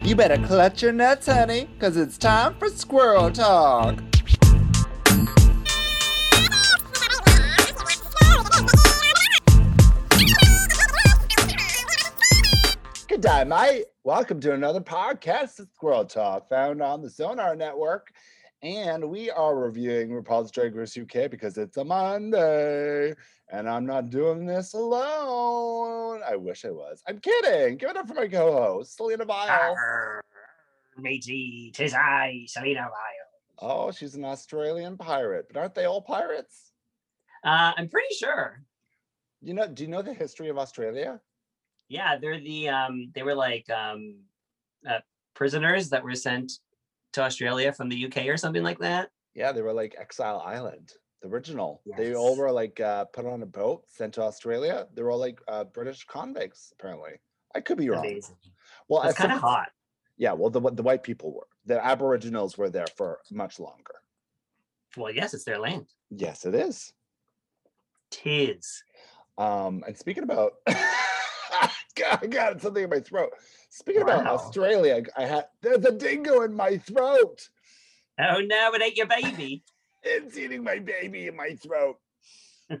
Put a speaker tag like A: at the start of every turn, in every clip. A: You better clutch your nuts, honey, because it's time for squirrel talk. Good day, mate. Welcome to another podcast of Squirrel Talk, found on the Sonar Network. And we are reviewing RuPaul's Drag Race UK because it's a Monday. And I'm not doing this alone. I wish I was. I'm kidding. Give it up for my co host, Selena
B: Oh.
A: Vile.
B: Arr, matey, tis I, Selena Lyle.
A: Oh, she's an Australian pirate, but aren't they all pirates?
B: Uh, I'm pretty sure.
A: You know, do you know the history of Australia?
B: Yeah, they're the um, they were like um, uh, prisoners that were sent to Australia from the UK or something like that.
A: Yeah, they were like Exile Island, the original. They all
B: Yes.
A: were like uh, put on a boat, sent to Australia. They were all like uh, British convicts, apparently. I could be wrong.
B: Amazing.
A: Well,
B: It's
A: as
B: kind of
A: someone-
B: hot.
A: Yeah, well, the wh- the white people were. The Aboriginals were there for much longer.
B: Well, yes, it's their land.
A: Yes, it is.
B: Tis.
A: Um, and speaking about, God, I got something in my throat. Speaking about
B: Wow.
A: Australia, I had there's a dingo in my throat.
B: Oh no, it ain't your baby.
A: It's eating my baby in my throat.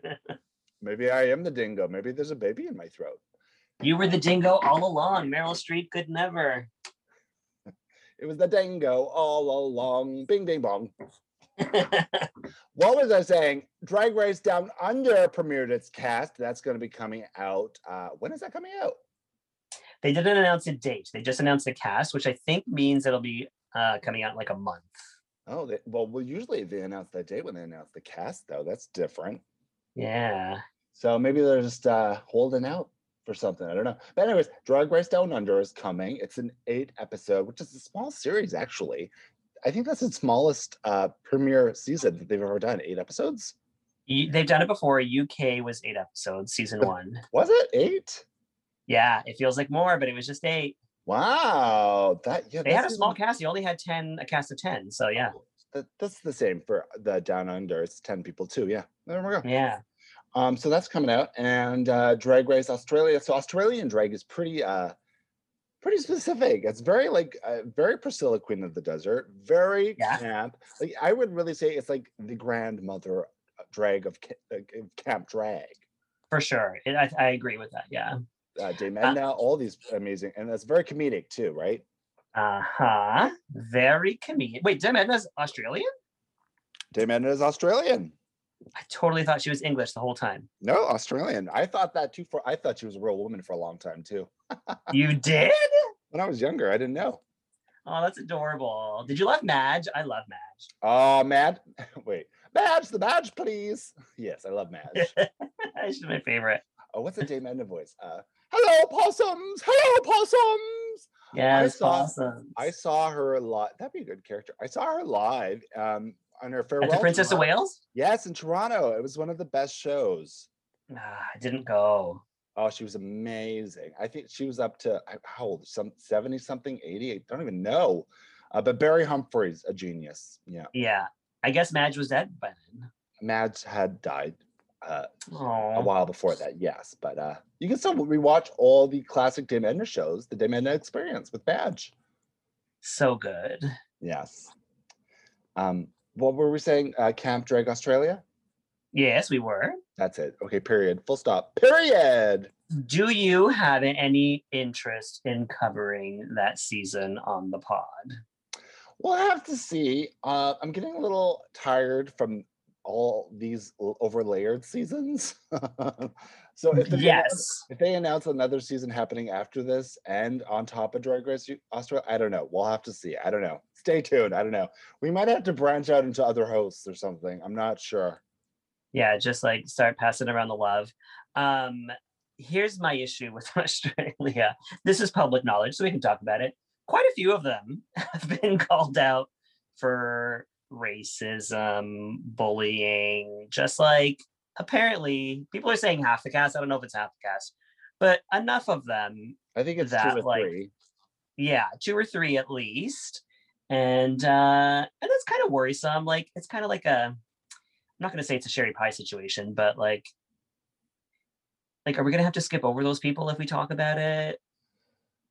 A: Maybe I am the dingo. Maybe there's a baby in my throat.
B: you were the dingo all along. Meryl Streep could never.
A: It was the dingo all along. Bing, ding, bong. What was I saying? Drag Race Down Under premiered its cast. That's going to be coming out. Uh, when is that coming out?
B: they didn't announce a date. They just announced the cast, which I think means it'll be uh, coming out in like a month.
A: Oh, they, well, well, usually they announce that date when they announce the cast, though. That's different.
B: Yeah.
A: So maybe they're just uh, holding out for something. I don't know. But anyways, Drag Race Down Under is coming. It's an eight episode, which is a small series actually. I think that's the smallest uh, premiere season that they've ever done. Eight episodes?
B: Y- They've done it before. UK was eight episodes, season
A: But-
B: one.
A: Was it eight?
B: Yeah, it feels like more, but it was just eight.
A: Wow, that yeah.
B: They
A: that
B: had a small
A: season-
B: cast. You only had ten, a cast of ten. So yeah,
A: that, that's the same for the Down Under. It's ten people too. Yeah, there we go.
B: yeah.
A: Um, so that's coming out, and uh, Drag Race Australia. So Australian drag is pretty, uh, pretty specific. It's very like uh, very Priscilla Queen of the Desert, very
B: Yeah.
A: camp. Like I would really say it's like the grandmother uh, drag of ca- uh, of camp drag.
B: For sure, it, I, I agree with that. Yeah.
A: Uh, Dame Edna, all these amazing, and that's very comedic too, right?
B: Uh huh. Very comedic. Wait, Dame Edna's Australian?
A: Dame Edna is Australian.
B: I totally thought she was English the whole time.
A: No, Australian. I thought that too. For I thought she was a real woman for a long time too.
B: You did?
A: When I was younger, I didn't know.
B: Oh, that's adorable. Did you love Madge? I love Madge.
A: Oh, Madge. Wait, Madge, the Madge, please. Yes, I love Madge.
B: She's my favorite.
A: oh, what's the Dame Edna voice? Uh, hello, possums. Hello, possums.
B: Yeah, it's
A: saw-
B: awesome.
A: I saw her live. That'd be a good character. I saw her live um, on her farewell.
B: At the Princess of
A: tour.
B: Wales?
A: Yes, in Toronto. It was one of the best shows.
B: Nah, I didn't go.
A: Oh, she was amazing. I think she was up to I- how old? Some seventy something, eighty. I don't even know. Uh, but Barry Humphries, a genius. Yeah,
B: Yeah. I guess Madge was dead by then.
A: Madge had died. Uh, a
B: Oh,
A: while before that, yes. But uh, you can still rewatch all the classic Dame Edna shows, the Dame Edna Experience with Badge.
B: so good.
A: Yes. Um, what were we saying? Uh, Camp Drag Australia?
B: Yes, we were.
A: That's it. Okay, period. Full stop. Period.
B: Do you have any interest in covering that season on the pod?
A: We'll have to see. Uh, I'm getting a little tired from all these l- overlayered seasons. so if they announce-
B: Yes.
A: if they announce another season happening after this and on top of Drag Race U- Australia, I don't know. We'll have to see. I don't know. Stay tuned. I don't know. We might have to branch out into other hosts or something. I'm not sure.
B: Yeah, just like start passing around the love. Um, here's my issue with Australia. This is public knowledge, so we can talk about it. Quite a few of them have been called out for racism, bullying, just like apparently people are saying half the cast. I don't know if it's half the cast, but enough of them
A: I think it's
B: That,
A: two or
B: like,
A: three.
B: yeah two or three at least and uh and that's kind of worrisome like it's kind of like a i'm not going to say it's a sherry pie situation but like like are we going to have to skip over those people if we talk about it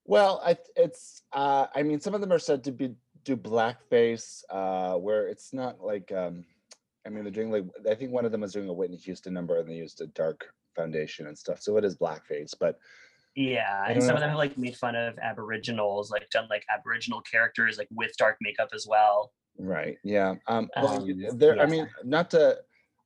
A: Well, I, it's uh, I mean, some of them are said to be do blackface, uh, where it's not like um, I mean, they're doing like I think one of them was doing a Whitney Houston number, and they used a dark foundation and stuff. So it is blackface, but
B: Yeah,
A: I
B: and
A: don't
B: some
A: know.
B: of them have like made fun of Aboriginals, like done like Aboriginal characters like with dark makeup as well.
A: Right. Yeah. Um, well, you-
B: Um,
A: there. I
B: yeah.
A: mean, not to.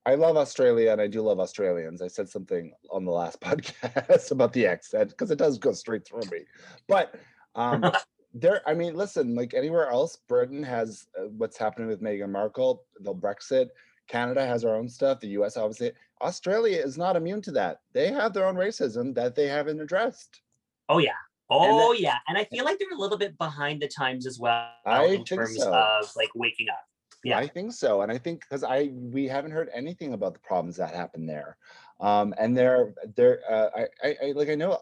A: I love Australia, and I do love Australians. I said something on the last podcast about the accent because it does go straight through me. But um, there. I mean, listen. Like anywhere else, Britain has uh, what's happening with Meghan Markle, the Brexit. Canada has our own stuff. The U.S. obviously. Australia is not immune to that. They have their own racism that they haven't addressed.
B: Oh yeah. Oh yeah. And I feel like they're a little bit behind the times as well
A: I
B: in
A: think
B: terms
A: so.
B: of like waking up. Yeah.
A: I think so, and I think because I we haven't heard anything about the problems that happened there, um, and there there uh, I, I I like I know.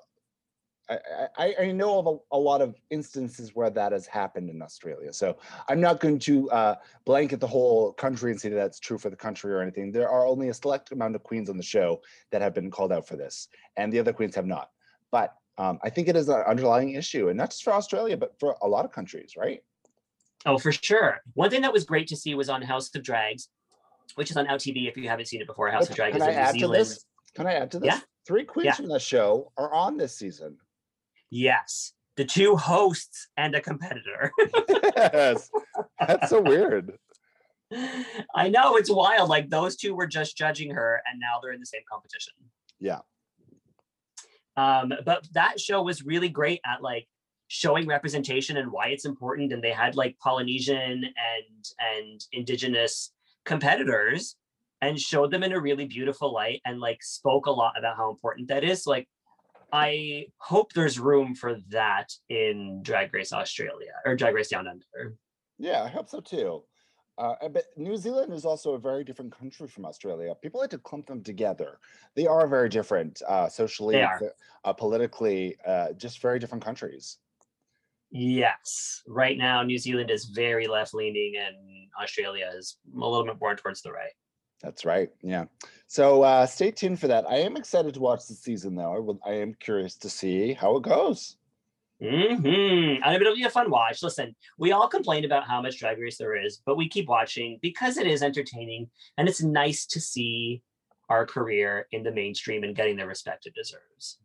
A: I, I, I know of a, a lot of instances where that has happened in Australia. So I'm not going to uh, blanket the whole country and say that's true for the country or anything. There are only a select amount of queens on the show that have been called out for this, and the other queens have not. But um, I think it is an underlying issue, and not just for Australia, but for a lot of countries, right?
B: Oh, for sure. One thing that was great to see was on House of Drags, which is on LTV if you haven't seen it before. House of
A: Can-
B: Drags
A: can
B: is
A: I
B: in
A: add to
B: New Zealand.
A: this? Can I add to this?
B: Yeah.
A: Three queens
B: Yeah.
A: from the show are on this season.
B: Yes. The two hosts and a competitor.
A: yes. That's so weird.
B: I know it's wild. Like those two were just judging her, and now they're in the same competition.
A: Yeah.
B: Um, but that show was really great at like showing representation and why it's important. And they had like Polynesian and and indigenous competitors and showed them in a really beautiful light and like spoke a lot about how important that is. Like I hope there's room for that in Drag Race Australia or Drag Race Down Under.
A: Yeah, I hope so too. Uh, and- but New Zealand is also a very different country from Australia. People like to clump them together. They are very different uh, socially,
B: They are.
A: so- uh, politically, uh, just very different countries.
B: Yes. Right now, New Zealand is very left leaning and Australia is a little bit more towards the right.
A: That's right. Yeah. So uh, stay tuned for that. I am excited to watch the season, though. I, will, I am curious to see how it goes.
B: Mm-hmm. And it'll be a fun watch. Listen, we all complain about how much Drag Race there is, but we keep watching because it is entertaining and it's nice to see our career in the mainstream and getting the respect it deserves.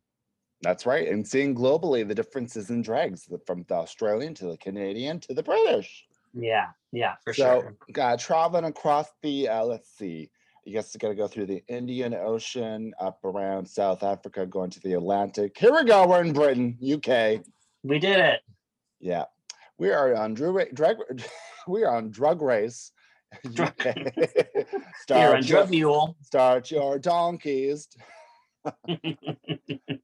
A: That's right. And seeing globally the differences in drags the- from the Australian to the Canadian to the British.
B: Yeah, yeah, for
A: so,
B: sure.
A: uh, traveling across the, uh, let's see, you guys got to go through the Indian Ocean, up around South Africa, going to the Atlantic. Here we go. We're in Britain, UK.
B: We did it.
A: Yeah. We are on Drew, drag, we are on Drug Race.
B: Drug-
A: UK.
B: Here
A: Start
B: on
A: your-
B: Drug Mule.
A: start your donkeys.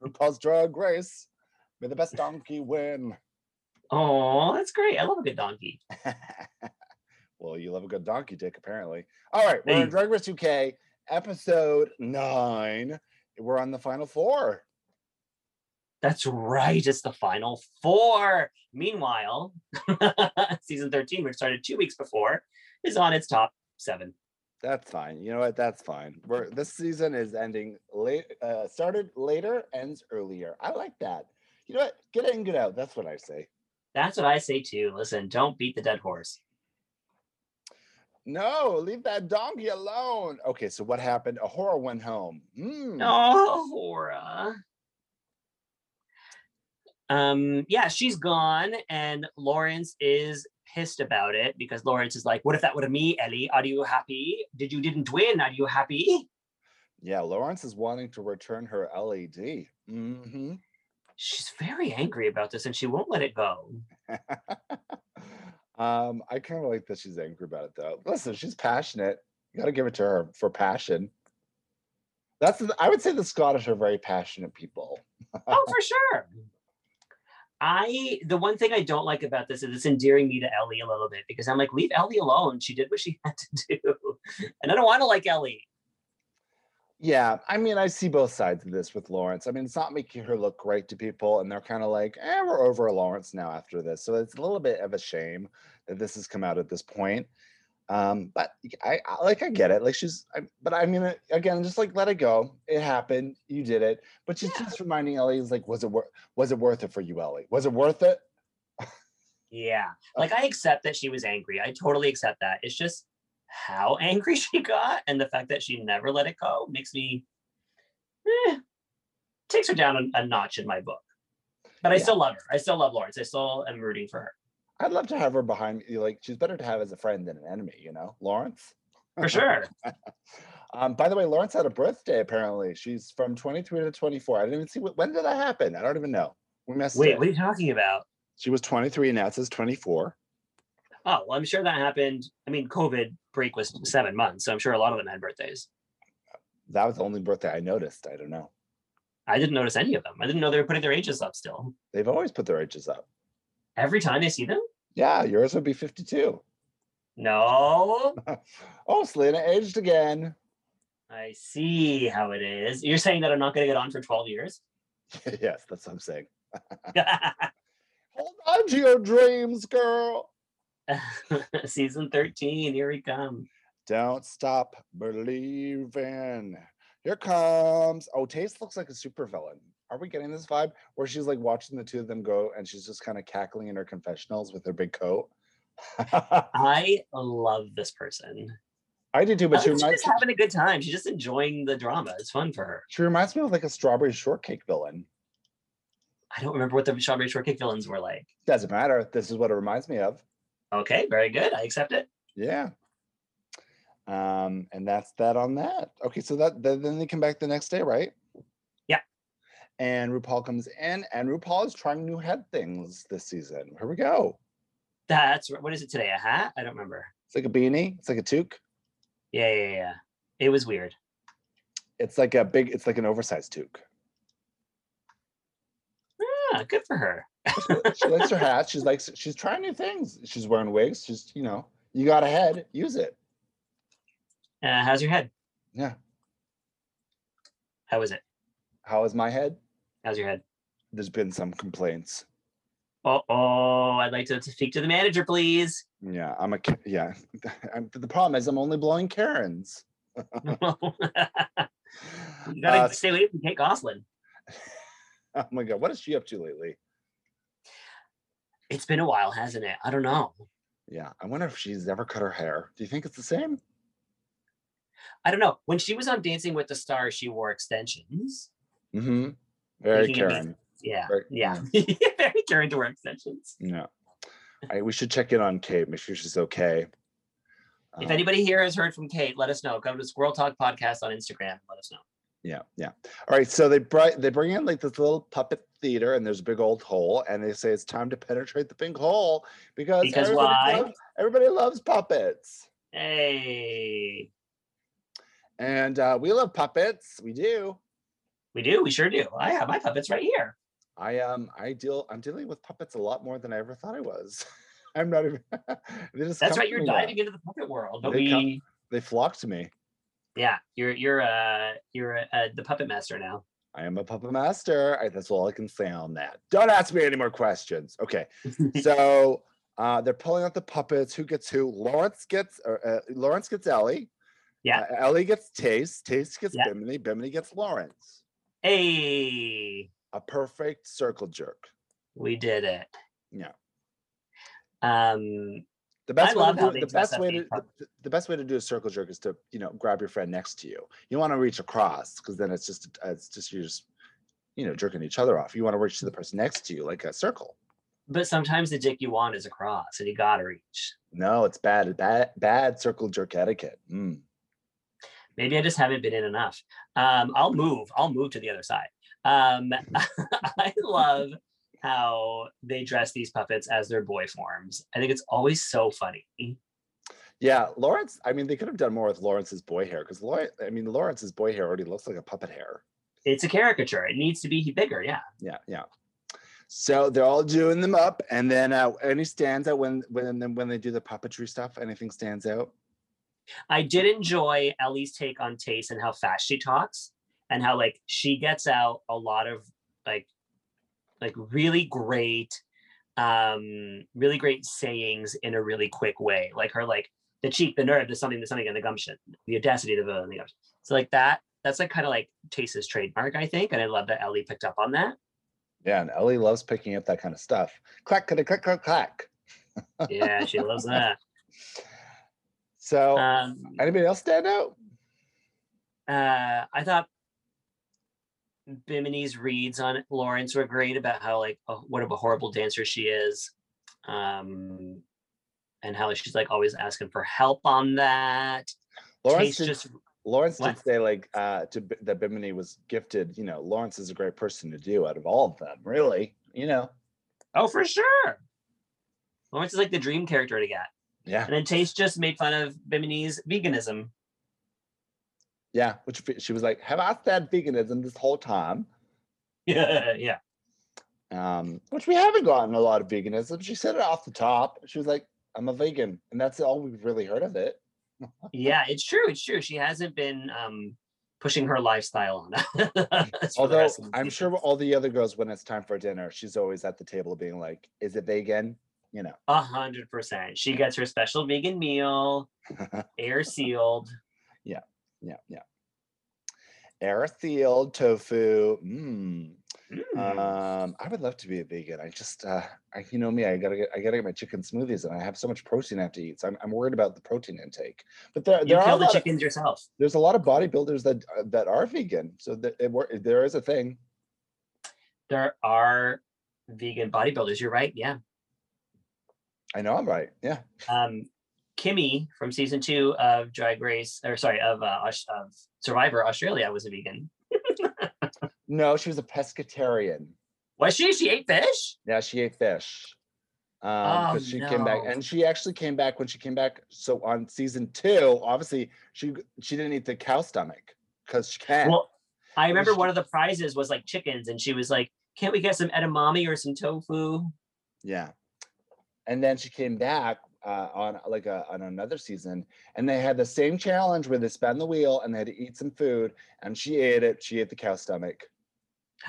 A: RuPaul's Drug Race. May the best donkey win.
B: Oh, that's great. I love a good donkey.
A: well, you love a good donkey dick, apparently. All right, we're on
B: Hey.
A: Drag Race UK, episode nine. We're on the final four.
B: That's right. It's the final four. Meanwhile, season 13, which started two weeks before, is on its top seven.
A: That's fine. You know what? That's fine. We're this season is ending late. Uh, started later, ends earlier. I like that. You know what? Get in, get out. That's what I say.
B: That's what I say too. Listen, don't beat the dead horse.
A: No, leave that donkey alone. Okay, so what happened? A horror went home. Hmm.
B: Oh, Hora. Um, yeah, she's gone, and Lawrence is pissed about it because Lawrence is like, "What if that were me, Ellie? Are you happy? Did you didn't win? Are you happy?"
A: Yeah, Lawrence is wanting to return her LED. hmm
B: She's very angry about this, and she won't let it go.
A: um, I kind of like that she's angry about it though. Listen, she's passionate. You got to give it to her for passion. That's the, I would say the Scottish are very passionate people.
B: oh, for sure. I the one thing I don't like about this is it's endearing me to Ellie a little bit because I'm like, leave Ellie alone. She did what she had to do, and I don't want to like Ellie.
A: Yeah, I mean, I see both sides of this with Lawrence. I mean, it's not making her look great to people, and they're kind of like, "Eh, we're over Lawrence now after this." So it's a little bit of a shame that this has come out at this point. Um, but I, I like I get it. Like she's, I, but I'm gonna again just like let it go. It happened. You did it. But she's
B: Yeah.
A: just reminding Ellie, is like, was it worth? Was it worth it for you, Ellie? Was it worth it?
B: Yeah. Like I accept that she was angry. I totally accept that. It's just how angry she got and the fact that she never let it go makes me eh, takes her down a, a notch in my book. But I
A: Yeah.
B: still love her. I still love Lawrence. I still am rooting for her.
A: I'd love to have her behind me. Like she's better to have as a friend than an enemy. You know, Lawrence.
B: For sure.
A: Um, by the way, Lawrence had a birthday. Apparently, she's from 23 to 24. I didn't even see what, when did that happen. I don't even know. We messed
B: Wait,
A: up.
B: what are you talking about?
A: She was 23 and now it says 24.
B: Oh, well, I'm sure that happened. I mean, COVID break was seven months, so I'm sure a lot of them had birthdays.
A: That was the only birthday I noticed. I don't know.
B: I didn't notice any of them. I didn't know they were putting their ages up still.
A: They've always put their ages up.
B: Every time I see them?
A: Yeah, yours would be 52.
B: No.
A: Oh, Selena aged again.
B: I see how it is. You're saying that I'm not going to get on for 12 years?
A: yes, that's what I'm saying. Hold on to your dreams, girl.
B: Season 13, here we come.
A: Don't stop believing. Here comes. Oh, Taste looks like a supervillain. Are we getting this vibe where she's like watching the two of them go and she's just kind of cackling in her confessionals with her big coat?
B: I love this person.
A: I did too,
B: I
A: but
B: think
A: she
B: she's
A: reminds,
B: just having a good time. She's just enjoying the drama. It's fun for her.
A: she reminds me of like a strawberry shortcake villain.
B: I don't remember what the Strawberry Shortcake villains were like.
A: Doesn't matter. This is what it reminds me of.
B: Okay, very good. I accept it.
A: Yeah. Um, and that's that on that. Okay, so that th- then they come back the next day, right?
B: Yeah.
A: And RuPaul comes in, and RuPaul is trying new head things this season. Here we go.
B: That's what is it today? A hat? I don't remember.
A: It's like a beanie. It's like a toque.
B: Yeah, yeah, yeah. It was weird.
A: It's like a big. It's like an oversized toque.
B: Ah, good for her.
A: She likes her hat. She's like she's trying new things. She's wearing wigs. She's you know you got a head. Use it.
B: Uh, how's your head?
A: Yeah.
B: How is it?
A: How is my head?
B: How's your head?
A: There's been some complaints.
B: Oh, oh, I'd like to, to speak to the manager, please.
A: Yeah, I'm a Ka- yeah. I'm, the problem is I'm only blowing Karens.
B: you gotta
A: Uh,
B: stay away from Kate Goslin.
A: Oh my god, what is she up to lately?
B: It's been a while, hasn't it? I don't know.
A: Yeah, I wonder if she's ever cut her hair. Do you think it's the same?
B: I don't know. When she was on Dancing with the Stars, she wore extensions.
A: Mm-hmm. Very
B: Thinking of me.
A: Karen.
B: Yeah.
A: Very-
B: yeah. Very caring to wear extensions.
A: Yeah. I, we should check in on Kate, make sure she's okay.
B: If
A: Um,
B: anybody here has heard from Kate, let us know. Go to Squirrel Talk Podcast on Instagram. and Let us know.
A: Yeah, yeah. All right, so they brought they bring in like this little puppet theater, and there's a big old hole, and they say it's time to penetrate the big hole because
B: Because
A: everybody
B: why?
A: loves- everybody loves puppets,
B: Hey,
A: and uh, we love puppets. We do.
B: we do. We sure do. I have my puppets right here.
A: I um I deal I'm dealing with puppets a lot more than I ever thought I was. I'm not even they just
B: That's
A: come
B: right.
A: to
B: You're
A: me now.
B: diving into the puppet world, but
A: They come-
B: we,
A: They flock to me.
B: yeah, you're you're uh you're uh, the puppet master now.
A: I am a puppet master. I, that's all I can say on that. Don't ask me any more questions. Okay. So uh, they're pulling out the puppets. Who gets who? Lawrence gets or, uh, Lawrence gets Ellie.
B: Yeah.
A: Uh, Ellie gets Taste. Taste gets
B: Yeah.
A: Bimini. Bimini gets Lawrence.
B: Hey,
A: A perfect circle jerk.
B: we did it.
A: Yeah.
B: Um,
A: The best way
B: love
A: to
B: how
A: do,
B: they
A: it- the
B: dress
A: best
B: up
A: way
B: these
A: to the, the- the best way to do a circle jerk is to you know grab your friend next to you. You want to reach across because then it's just it's just you're just you know jerking each other off. You want to reach to the person next to you like a circle.
B: but sometimes the dick you want is a cross, and you gotta reach.
A: No, it's bad bad bad circle jerk etiquette. Mm.
B: Maybe I just haven't been in enough. Um, I'll move. I'll move to the other side. Um, I love how they dress these puppets as their boy forms. I think it's always so funny.
A: Yeah, Lawrence. I mean, they could have done more with Lawrence's boy hair because Lawrence. I mean, Lawrence's boy hair already looks like a puppet hair.
B: It's a caricature. It needs to be bigger. Yeah.
A: Yeah, yeah. So they're all doing them up, and then uh, any stands out when when then when they do the puppetry stuff. Anything stands out?
B: I did enjoy Ellie's take on taste and how fast she talks and how like she gets out a lot of like like really great um really great sayings in a really quick way. Like her like the cheek, the nerve, the something, the something, and the gumption, the audacity, the will, and the gumption. So like that, that's like kind of like Chase's trademark, I think. And I love that Ellie picked up on that.
A: Yeah, and Ellie loves picking up that kind of stuff. Clack, clack, clack, clack, clack.
B: Yeah, she loves that.
A: So,
B: Um,
A: anybody else stand out?
B: uh, I thought Bimini's reads on Lawrence were great about how like a, what a horrible dancer she is, um, and how she's like always asking for help on that.
A: Lawrence
B: Chase
A: did,
B: just
A: Lawrence did
B: what?
A: say like uh, to B- that Bimini was gifted. You know, Lawrence is a great person to do out of all of them, really. You know,
B: oh for sure. Lawrence is like the dream character to get,
A: yeah,
B: and then Chase just made fun of Bimini's veganism.
A: yeah. Which fe- she was like, "Have I said veganism this whole time?"
B: Yeah, yeah.
A: Um, which we haven't gotten a lot of veganism. She said it off the top. She was like, "I'm a vegan," and that's all we've really heard of it.
B: Yeah, it's true. It's true. She hasn't been um pushing her lifestyle on us. for the
A: Although
B: rest of the
A: I'm
B: season.
A: sure all the other girls, when it's time for dinner, she's always at the table being like, "Is it vegan?" You know.
B: a hundred percent. She gets her special vegan meal, air sealed.
A: Yeah, yeah. Air sealed tofu. Mmm.
B: Hmm. Mm.
A: Um, I would love to be a vegan. I just, uh, I, you know me, I gotta get, I gotta get my chicken smoothies, and I have so much protein I have to eat. So I'm, I'm worried about the protein intake. But there,
B: you
A: there are a
B: kill the
A: lot of,
B: chickens yourself.
A: there's a lot of bodybuilders that uh, that are vegan. So that it, wor- there is a thing.
B: There are vegan bodybuilders. You're right. Yeah.
A: I know I'm right. Yeah.
B: Um, Kimmy from season two of Drag Race, or sorry, of, uh, Aus- of Survivor Australia was a vegan.
A: No, she was a pescatarian.
B: Was she? She ate fish?
A: Yeah, she ate fish. Um,
B: Oh,
A: because she came back,
B: no.
A: and she actually came back when she came back. So on season two, obviously she g- she didn't eat the cow stomach because she can't.
B: Well, I remember
A: she-
B: one of the prizes was like chickens, and she was like, can't we get some edamame or some tofu?
A: Yeah. And then she came back uh, on like a, on another season, and they had the same challenge where they spun the wheel and they had to eat some food, and she ate it. She ate the cow stomach.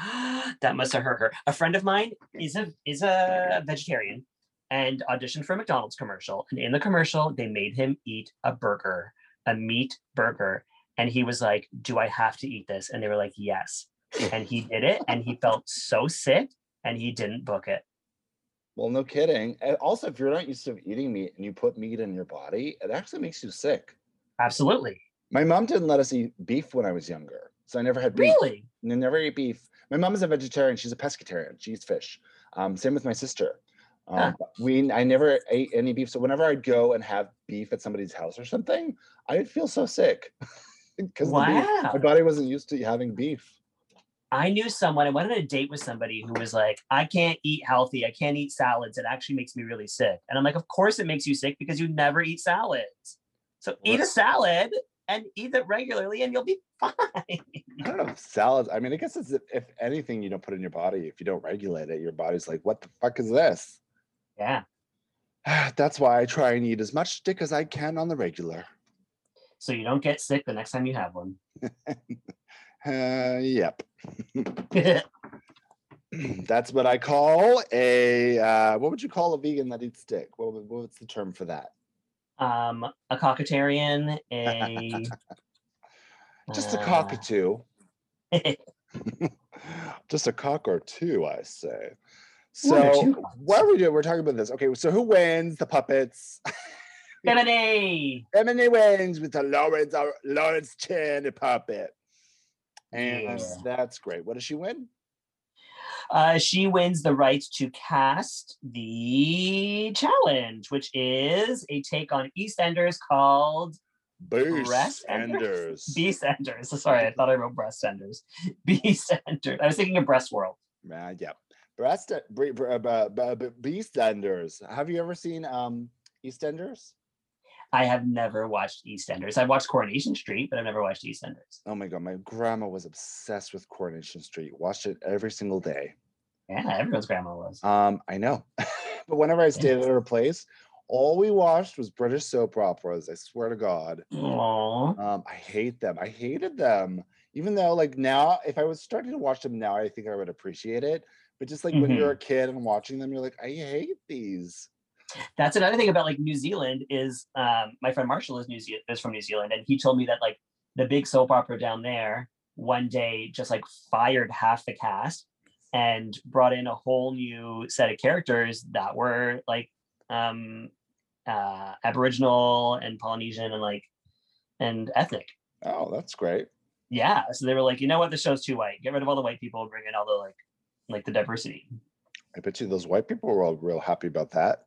B: that must have hurt her. A friend of mine is a is a vegetarian and auditioned for a McDonald's commercial. And in the commercial, they made him eat a burger, a meat burger. And he was like, Do I have to eat this? And they were like, Yes. And he did it and he felt so sick and he didn't book it.
A: Well, no kidding. And also, if you're not used to eating meat and you put meat in your body, it actually makes you sick.
B: Absolutely.
A: My mom didn't let us eat beef when I was younger, so I never had beef.
B: Really?
A: and I never eat beef. My mom is a vegetarian. She's a pescatarian. She eats fish. Um, same with my sister. Um,
B: Huh.
A: but we I never ate any beef. So whenever I'd go and have beef at somebody's house or something, I'd feel so sick because
B: Wow.
A: my body wasn't used to having beef.
B: I knew someone, I went on a date with somebody who was like, I can't eat healthy. I can't eat salads. It actually makes me really sick. And I'm like, Of course it makes you sick because you never eat salads. So eat a
A: Right.
B: salad and eat it regularly and you'll be fine.
A: I don't know if salads. I mean, I guess it's if- if anything you don't put in your body, if you don't regulate it, your body's like, what the fuck is this?
B: Yeah.
A: That's why I try and eat as much dick as I can on the regular.
B: So you don't get sick the next time you have one.
A: Uh, yep. That's what I call a uh, what would you call a vegan that eats dick? What, would- what's the term for that?
B: um, a cockatarian, a
A: Just a
B: uh,
A: cockatoo. Just a cock or two, I say.
B: One or
A: So
B: two cocks.
A: what are we doing? We're talking about this. Okay, so who wins? The puppets.
B: Bimini.
A: Emily wins with the Lawrence uh, Lawrence Chan puppet. And
B: Yeah.
A: that's great. What does she win?
B: Uh, she wins the right to cast the challenge, which is a take on EastEnders called
A: Bruce
B: Breast and
A: Enders.
B: Beastenders. Sorry, I thought I wrote breastenders. Beastenders. I was thinking of breast world.
A: Uh, yeah. Breast, bre- bre- uh, b- b- b- Beastenders. Have you ever seen um EastEnders?
B: I have never watched EastEnders. I've watched Coronation Street, but I've never watched EastEnders.
A: Oh my god, my grandma was obsessed with Coronation Street. Watched it every single day.
B: Yeah, everyone's grandma was.
A: Um, I know, but whenever I stayed at her place, all we watched was British soap operas. I swear to God,
B: Aww.
A: um, I hate them. I hated them. Even though, like now, if I was starting to watch them now, I think I would appreciate it. But just like when you're a kid and watching them, you're like, I hate these.
B: That's another thing about like New Zealand is um, my friend Marshall is New Ze- is from New Zealand, and he told me that like the big soap opera down there one day just like fired half the cast and brought in a whole new set of characters that were like um, uh, Aboriginal and Polynesian and like and ethnic.
A: Oh, that's great.
B: Yeah, so they were like, you know what, the show's too white. Get rid of all the white people, bring in all the like like the diversity.
A: I bet you those white people were all real happy about that.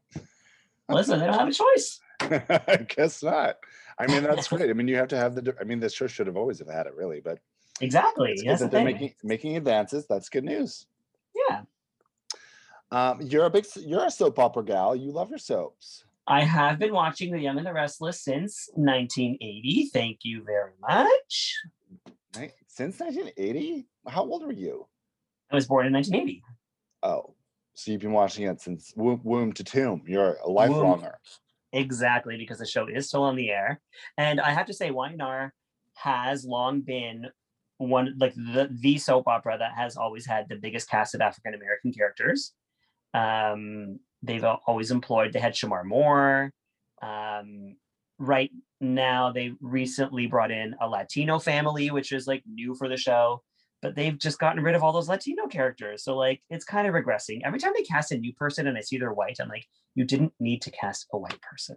B: Listen, they don't have a choice.
A: I guess not. I mean, that's great. I mean, you have to have the. I mean, the show should have always have had it, really. But
B: Exactly.
A: it's good
B: That's the
A: that they're
B: thing.
A: making making advances. That's good news.
B: yeah.
A: Um, you're a big. s- You're a soap opera gal. You love your soaps.
B: I have been watching The Young and the Restless since 1980. Thank you very much.
A: Ni- Since 1980, how old were you?
B: I was born in 1980.
A: Oh, so you've been watching it since womb, womb to tomb. You're a lifelonger.
B: Exactly, because the show is still on the air. And I have to say, YNR has long been one like the the soap opera that has always had the biggest cast of African American characters. Um, they've al- always employed. They had Shamar Moore. Um, right now, they recently brought in a Latino family, which is like new for the show. But they've just gotten rid of all those Latino characters, so like it's kind of regressing. Every time they cast a new person and I see they're white, I'm like, you didn't need to cast a white person.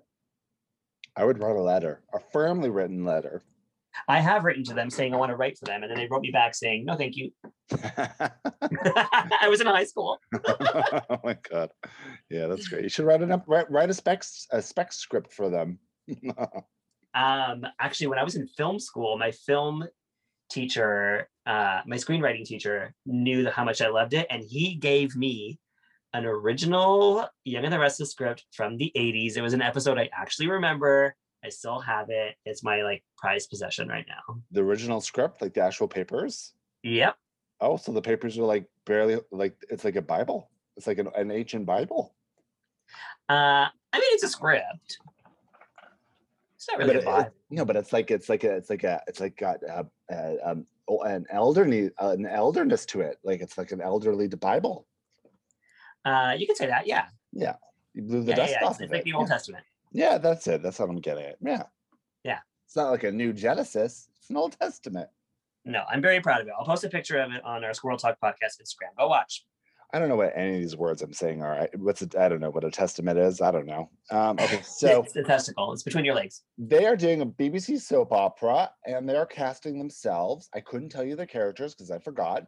A: I would write a letter, a firmly written letter.
B: I have written to them saying I want to write for them, and then they wrote me back saying, no, thank you. I was in high school.
A: oh my god, yeah, that's great. You should write an up, write, write a spec a spec script for them.
B: Um, actually, when I was in film school, my film teacher, uh, my screenwriting teacher, knew how much I loved it, and he gave me an original Young and the Restless script from the 80s. It was an episode I actually remember. I still have it. It's my like prized possession right now.
A: the original script, like the actual papers.
B: Yep.
A: Oh, so the papers are like barely like it's like a Bible. It's like an, an ancient Bible.
B: Uh, I mean, it's a script. It's not really
A: but
B: a
A: it-
B: Bible.
A: it- no, but it's like it's like a it's like a it's like got a, a, um, o- an elderly an elderness to it. Like it's like an elderly Bible.
B: Uh, you could say that, yeah.
A: You blew the
B: Yeah, yeah,
A: dust
B: yeah.
A: off
B: It's,
A: of
B: it's
A: it.
B: like the
A: yeah.
B: Old Testament.
A: Yeah, that's it. That's what I'm getting at. Yeah.
B: Yeah.
A: It's not like a new Genesis. It's an Old Testament.
B: No, I'm very proud of it. I'll post a picture of it on our Squirrel Talk podcast Instagram. Go watch.
A: I don't know what any of these words I'm saying are. I- What's it? I don't know what a testament is. I don't know. Um, okay, so
B: it's the testicle. It's between your legs.
A: they are doing a BBC soap opera and they're casting themselves. I couldn't tell you the characters because I forgot.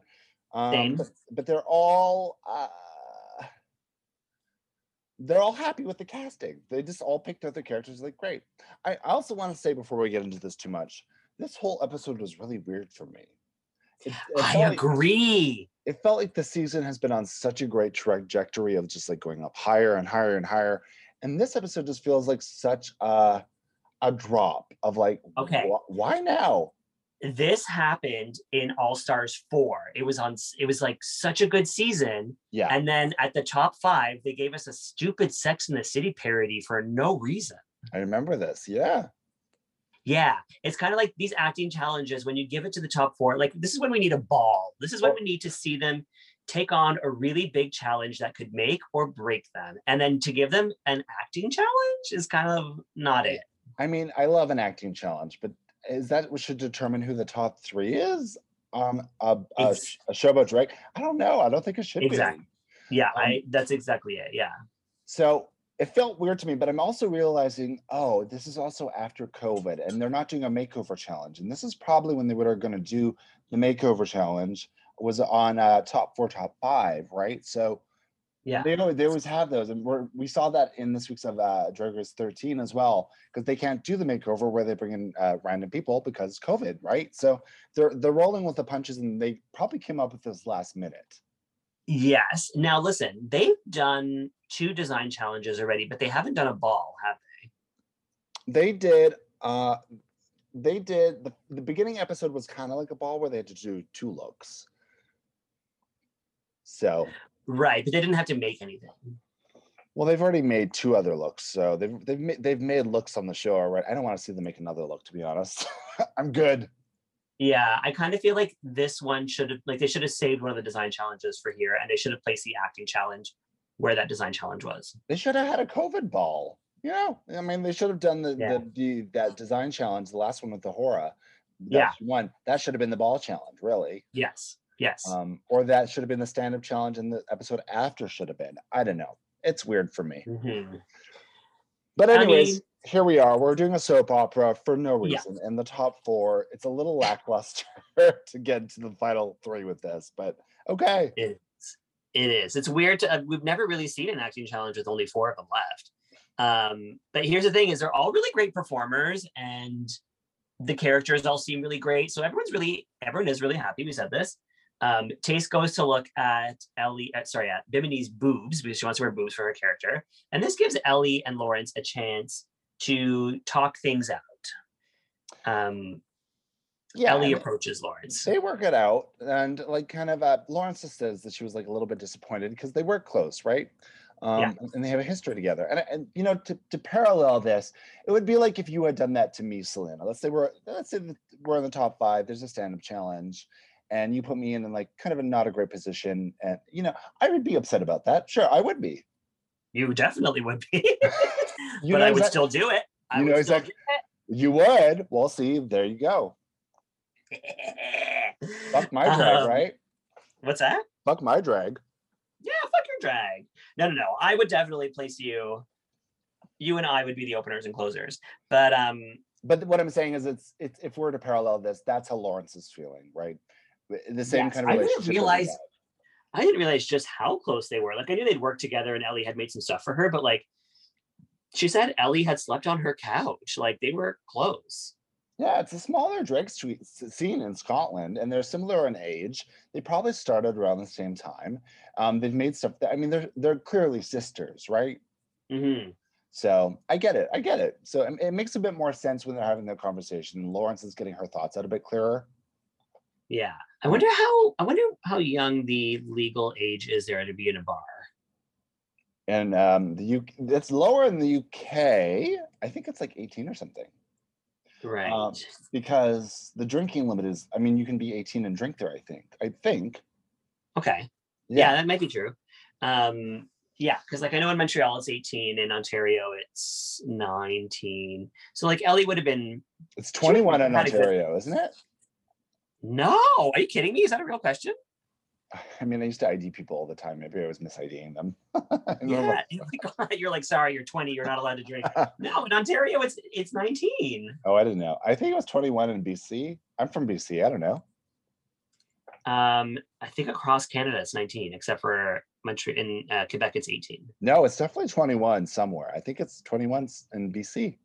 A: Um,
B: Same.
A: but, but they're all uh, they're all happy with the casting. They just all picked out their characters like great. I I also want to say before we get into this too much, this whole episode was really weird for me. It, it
B: I
A: felt like-
B: agree.
A: it felt like the season has been on such a great trajectory of just like going up higher and higher and higher. And this episode just feels like such a a drop of like,
B: Okay.
A: wh- why now?
B: This happened in All Stars 4. It was on s- it was like such a good season.
A: Yeah,
B: And then at the top five, they gave us a stupid Sex in the City parody for no reason.
A: I remember this. Yeah,
B: Yeah. It's kind of like these acting challenges when you give it to the top four. Like, this is when we need a ball. This is when we need to see them take on a really big challenge that could make or break them. And then to give them an acting challenge is kind of not it.
A: I mean, I love an acting challenge, but is that what should determine who the top three is on a, a,
B: Ex-
A: a show about Drake? I don't know. I don't think it should be.
B: Exactly. Yeah.
A: Um,
B: I, that's exactly it. Yeah.
A: So it felt weird to me, but I'm also realizing, oh, this is also after COVID, and they're not doing a makeover challenge. And this is probably when they were going to do the makeover challenge was on uh, top four, top five, right? So
B: Yeah.
A: they always, they always have those, and we're, we saw that in this week's of uh, Drag Race 13 as well, because they can't do the makeover where they bring in uh, random people because COVID, right? So they're they're rolling with the punches, and they probably came up with this last minute.
B: Yes. Now, listen, they've done two design challenges already, but they haven't done a ball, have
A: they did uh they did the, the beginning episode was kind of like a ball where they had to do two looks so
B: they? Right. But they didn't have to make anything.
A: well they've already made two other looks so they've they've, ma- they've made looks on the show already i don't want to see them make another look to be honest i'm good
B: Yeah, I kind of feel like this one should have like they should have saved one of the design challenges for here and they should have placed the acting challenge where that design challenge was.
A: They should have had a COVID ball. You know, I mean, they should have done the,
B: Yeah.
A: the, the that design challenge, the last one with the Hora. that
B: Yeah.
A: she won. That should have been the ball challenge, really.
B: Yes. Yes.
A: Um, or that should have been the stand up challenge, and the episode after should have been. I don't know. It's weird for me.
B: Mhm.
A: But
B: I
A: anyways,
B: mean-
A: here we are. We're doing a soap opera for no
B: Yeah.
A: reason, and the top four. It's a little lackluster to get to the final three with this, but okay.
B: It is. It is. It's weird to. Uh, we've never really seen an acting challenge with only four of them left. Um, but here's the thing: is they're all really great performers, and the characters all seem really great. So everyone's really, everyone is really happy. We said this. Um, Taste goes to look at Ellie. uh, sorry, at Bimini's boobs because she wants to wear boobs for her character, and this gives Ellie and Lawrence a chance to talk things out. Um,
A: Yeah,
B: Ellie
A: and-
B: approaches Lawrence.
A: They work it out, and like kind of uh, Lawrence just says that she was like a little bit disappointed because they were close, right? Um,
B: Yeah.
A: and- And they have a history together. And and you know, to, to parallel this, it would be like if you had done that to me, Selena. Let's say we're let's say that we're in the top five. There's a stand up challenge, and you put me in in like kind of a not a great position, and you know, I would be upset about that. Sure, I would be.
B: You definitely would be,
A: You
B: but I
A: know
B: would
A: exact-
B: still do it. I
A: you
B: would
A: know
B: still
A: exact- You would. Well, see, there you go.
B: do it.
A: Fuck my drag,
B: Um,
A: right?
B: What's that?
A: Fuck my drag.
B: Yeah, fuck your drag. No, no, no. I would definitely place you. You and I would be the openers and closers. But um,
A: but th- what I'm saying is, it's it's if we're to parallel this, that's how Lawrence is feeling, right? W- The same
B: Yes,
A: kind of
B: I didn't
A: relationship. that we
B: realize-
A: had.
B: I didn't realize just how close they were. Like I knew they'd worked together, and Ellie had made some stuff for her. But like, she said Ellie had slept on her couch. Like they were close.
A: Yeah, it's a smaller drag street s- scene in Scotland, and they're similar in age. They probably started around the same time. Um, they've made stuff. That, I mean, they're they're clearly sisters, right? Mm-hmm.
B: hmm
A: So I get it. I get it. So it, it makes a bit more sense when they're having their conversation. Lawrence is getting her thoughts out a bit clearer.
B: Yeah. I wonder how. I wonder how young the legal age is there to be in a bar.
A: And um, the UK, it's lower in the UK. I think it's like 18 or something.
B: Right.
A: Um, because the drinking limit is i mean you can be 18 and drink there i think i think
B: okay. yeah, that might be true um yeah because like i know in montreal it's 18 in ontario it's 19 so like ellie would have been
A: it's
B: Sure,
A: 21 in
B: not exact-
A: ontario isn't it
B: no are you kidding me is that a real question
A: i mean i used to id people all the time maybe i was misiding them I don't know.
B: yeah you're like, you're like sorry you're 20 you're not allowed to drink no in ontario it's it's 19
A: oh i didn't know i think it was 21 in bc i'm from bc i don't know
B: um i think across canada it's 19 except for montreal in uh, quebec it's 18
A: no it's definitely 21 somewhere i think it's 21 s- in bc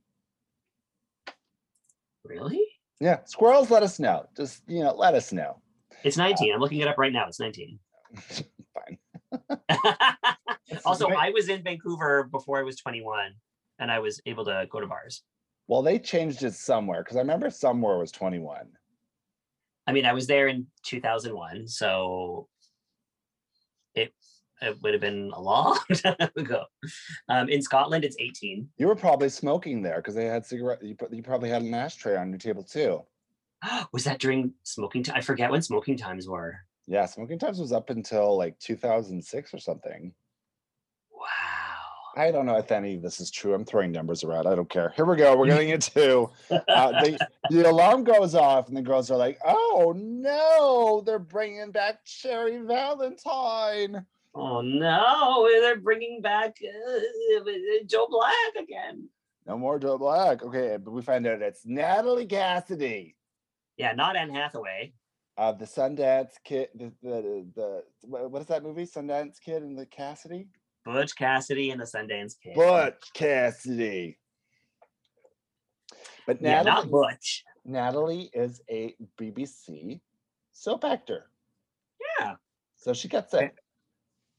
B: really
A: yeah squirrels let us know just you know let us know
B: it's 19 i'm looking it up right now it's 19
A: fine It's
B: also
A: great.
B: i was in vancouver before i was 21 and i was able to go to bars
A: well they changed it somewhere because i remember somewhere was 21
B: I mean, I was there in 2001, so it it would have been a long time ago. Um, in Scotland, it's 18.
A: you were probably smoking there because they had cigarette you, pro- you probably had an ashtray on your table too
B: was that during smoking time? I forget when smoking times were.
A: Yeah, smoking times was up until like 2006 or something.
B: Wow.
A: I don't know if any of this is true. I'm throwing numbers around. I don't care. Here we go. We're getting into uh, the, the alarm goes off, and the girls are like, "Oh no, they're bringing back Cherry Valentine."
B: oh no, they're bringing back uh, Joe Black again.
A: No more Joe Black. Okay, but we find out it's Natalie Cassidy
B: Yeah, not Anne Hathaway.
A: of the Sundance Kid. The, the, the wha- what is that movie? Sundance Kid and the Cassidy.
B: Butch Cassidy and the Sundance Kid.
A: But Cassidy. But
B: yeah,
A: Natalie.
B: not Butch.
A: Natalie is a BBC soap actor.
B: Yeah.
A: So she gets it.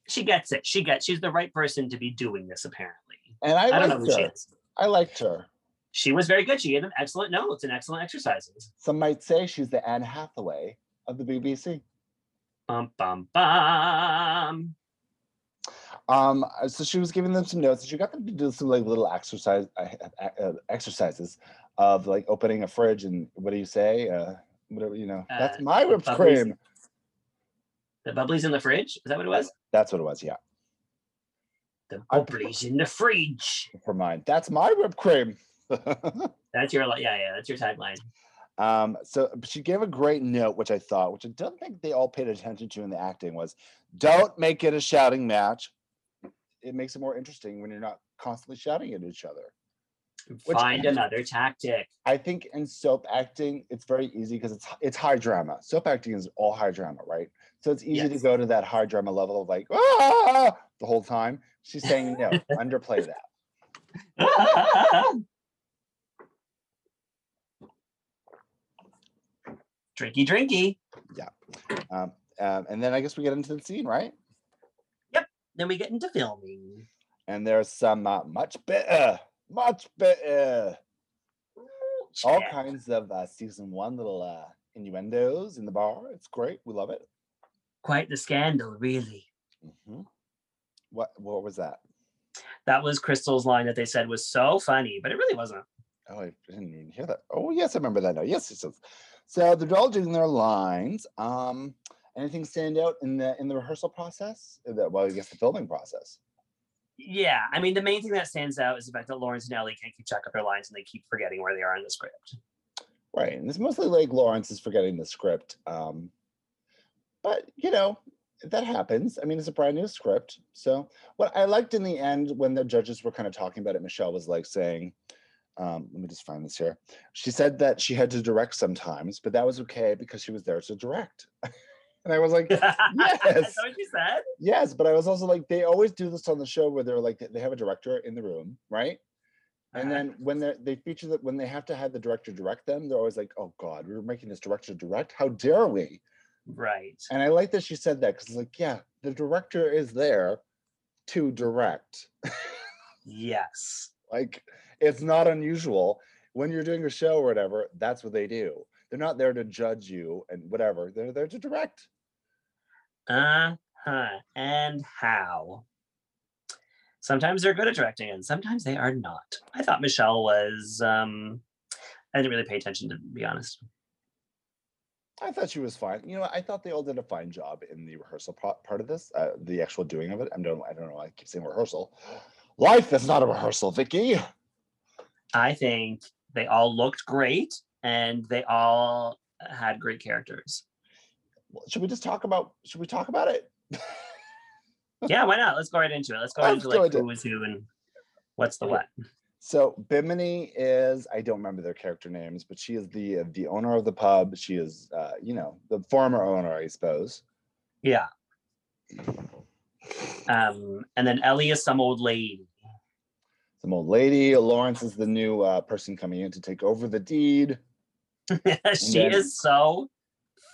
B: She gets it. She gets. She's the right person to be doing this. Apparently,
A: And I,
B: I, don't know
A: liked
B: who she
A: her.
B: is.
A: I liked her.
B: she was very good. She gave them excellent notes and excellent exercises.
A: Some might say she's the Anne Hathaway of the BBC.
B: Bum bum bum.
A: Um, uh, so she was giving them some notes, and she got them to do some like little exercise uh, uh, uh, exercises of like opening a fridge and what do you say? Uh, whatever you know. That's
B: Uh,
A: my whipped
B: bubblies.
A: cream.
B: The bubblies in the fridge. Is that what it was?
A: That's what it was. Yeah.
B: The
A: I-
B: bubbly's in the fridge.
A: for mine. That's my whipped cream.
B: That's your li- yeah yeah. That's your tagline.
A: Um, so but she gave a great note, which I thought, which I don't think they all paid attention to in the acting, was don't make it a shouting match. It makes it more interesting when you're not constantly shouting at each other. Which-
B: Find another tactic.
A: I think in soap acting, it's very easy because it's it's high drama. Soap acting is all high drama, right? So it's easy to
B: Yes.
A: go to that high drama level of like ah! the whole time. She's saying no, underplay that.
B: drinky drinky.
A: Um, um, and then I guess we get into the scene, right?
B: Then we get into filming.
A: And there's some uh, much better, much better. all
B: Check.
A: kinds of uh, season one little uh, innuendos in the bar. It's great. We love it.
B: Quite the scandal, really.
A: hmm What what was that?
B: That was Crystal's line that they said was so funny, but it really wasn't.
A: Oh, I didn't even hear that. Oh, yes, I remember that now. Yes, yes, yes. So they're all doing their lines. Um, anything stand out in the in the rehearsal process? Uh, the- Well, I guess the filming process.
B: Yeah, I mean, the main thing that stands out is the fact that Lawrence and Ellie can't keep track of their lines and they keep forgetting where they are in the script.
A: Right, and it's mostly like Lawrence is forgetting the script. Um, but you know that happens. I mean, it's a brand new script. So what I liked in the end when the judges were kind of talking about it, Michelle was like saying, um, "Let me just find this here." She said that she had to direct sometimes, but that was okay because she was there to direct. and I was like,
B: That's what she said.
A: "Yes," but I was also like, they always do this on the show where they're like they have a director in the room, right? And
B: Uh,
A: then when they they feature that when they have to have the director direct them, they're always like, "Oh God, we were making this director direct. How dare we?"
B: right.
A: And I like that she said that because it's like, yeah, the director is there to direct.
B: Yes.
A: Like, it's not unusual when you're doing a show or whatever. That's what they do. They're not there to judge you and whatever. They're there to direct.
B: Uh huh. And how? Sometimes they're good at directing and sometimes they are not. I thought Michelle was, um, I didn't really pay attention to be honest.
A: I thought she was fine. You know, what, I thought they all did a fine job in the rehearsal pro- part of this, uh, the actual doing of it. I don't, I don't know. why I keep saying rehearsal. Life is not a rehearsal, Vicky.
B: I think they all looked great and they all had great characters.
A: Well, should we just talk about should we talk about it
B: Yeah, why not? Let's go right into it. Let's go
A: Hmm. Let's
B: into
A: go
B: like
A: into it. Hmm.
B: who was who and what's the
A: Okay.
B: what.
A: so bimini is i don't remember their character names but she is the the owner of the pub she is uh you know the former owner i suppose
B: Yeah. Um, and then Ellie is some old lady.
A: some old lady lawrence is the new uh, person coming in to take over the deed
B: she
A: then-
B: is so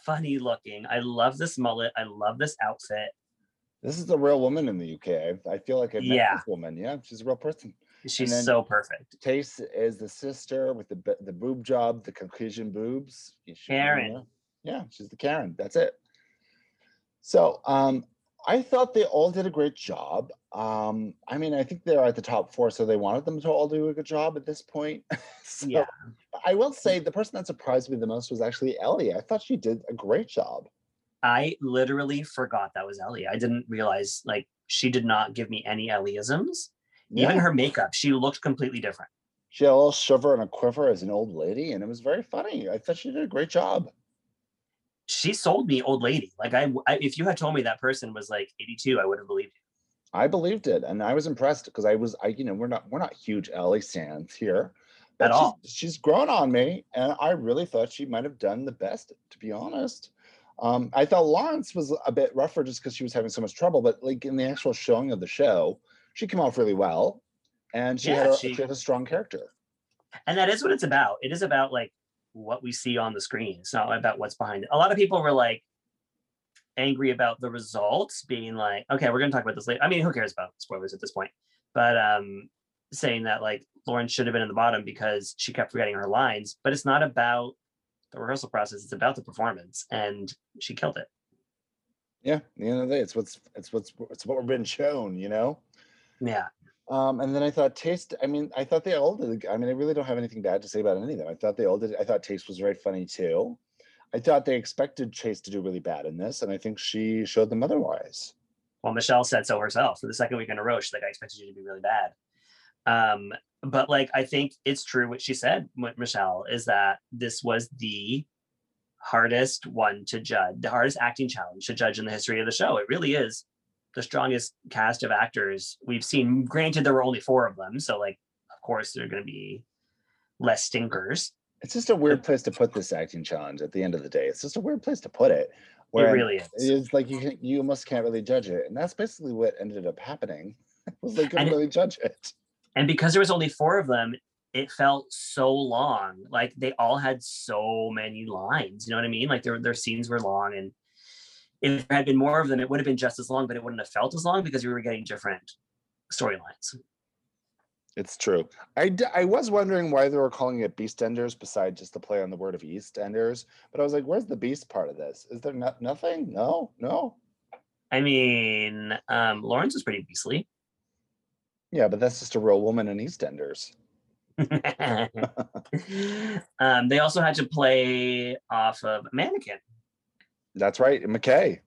B: funny looking. I love this mullet. I love this outfit.
A: this is the real woman in the uk i, I feel like i've met
B: Yeah.
A: this woman yeah she's a real person
B: She's
A: then-
B: so perfect.
A: tace is the sister with the b- the boob job the caucasian boobs Yeah, she- you know,
B: Karen.
A: yeah. yeah she's the karen that's it so um i thought they all did a great job um i mean i think they're at the top four so they wanted them to all do a good job at this point So,
B: Yeah.
A: i will say the person that surprised me the most was actually ellie i thought she did a great job
B: I literally forgot that was Ellie. I didn't realize like she did not give me any Ellieisms. Even
A: Yeah,
B: her makeup, she looked completely different.
A: she had a little shiver and a quiver as an old lady and it was very funny i thought she did a great job
B: She sold me old lady. Like I, I if you had told me that person was like 82, I would have believed
A: I believed it, and I was impressed because I was, I you know, we're not we're not huge Ellie stands here but
B: At
A: she's-
B: all.
A: She's, grown on me, and I really thought she might have done the best, to be honest. Um, I thought Lawrence was a bit rougher just because she was having so much trouble, but like in the actual showing of the show, she came off really well, and she had
B: Yeah,
A: a,
B: she-
A: she had a strong character.
B: you. And that is what it's about. It is about like what we see on the screen. It's not about what's behind it. A lot of people were like angry about the results being like, okay, we're gonna talk about this later. I mean, who cares about spoilers at this point? But um saying that like Lauren should have been in the bottom because she kept forgetting her lines, but it's not about the rehearsal process, it's about the performance. And she killed it.
A: Yeah, at the end of the day, it's what's it's what's it's what we're being shown, you know.
B: Yeah.
A: Um, and then I thought Taste. I mean, I thought they all did. I mean, I really don't have anything bad to say about any of them. I thought they all did. I thought Taste was very funny too. I thought they expected Chase to do really bad in this, and I think she showed them otherwise.
B: Well, Michelle said so herself for the second week in a row. She's like, I expected you to be really bad. Um, but like, I think it's true what she said, what Michelle, is that this was the hardest one to judge, the hardest acting challenge to judge in the history of the show. It really is the strongest cast of actors we've seen. Granted, there were only four of them. So, like, of course, there are going to be less stinkers.
A: It's just a weird place to put this acting challenge at the end of the day. It's just a weird place to put it.
B: it really is.
A: It's like you can, you almost can't really judge it. And that's basically what ended up happening. was they couldn't
B: And it-
A: really judge it.
B: And because there was only four of them, it felt so long. Like they all had so many lines. You know what I mean? Like their their scenes were long, and if there had been more of them, it would have been just as long, but it wouldn't have felt as long because we were getting different storylines.
A: It's true. I, d- I was wondering why they were calling it Beastenders besides just the play on the word of Eastenders. But I was like, where's the beast part of this? Is there no- nothing? No, no.
B: I mean, um, Lawrence was pretty beastly.
A: Yeah, but that's just a real woman in EastEnders.
B: um, they also had to play off of Mannequin
A: That's right, McKay.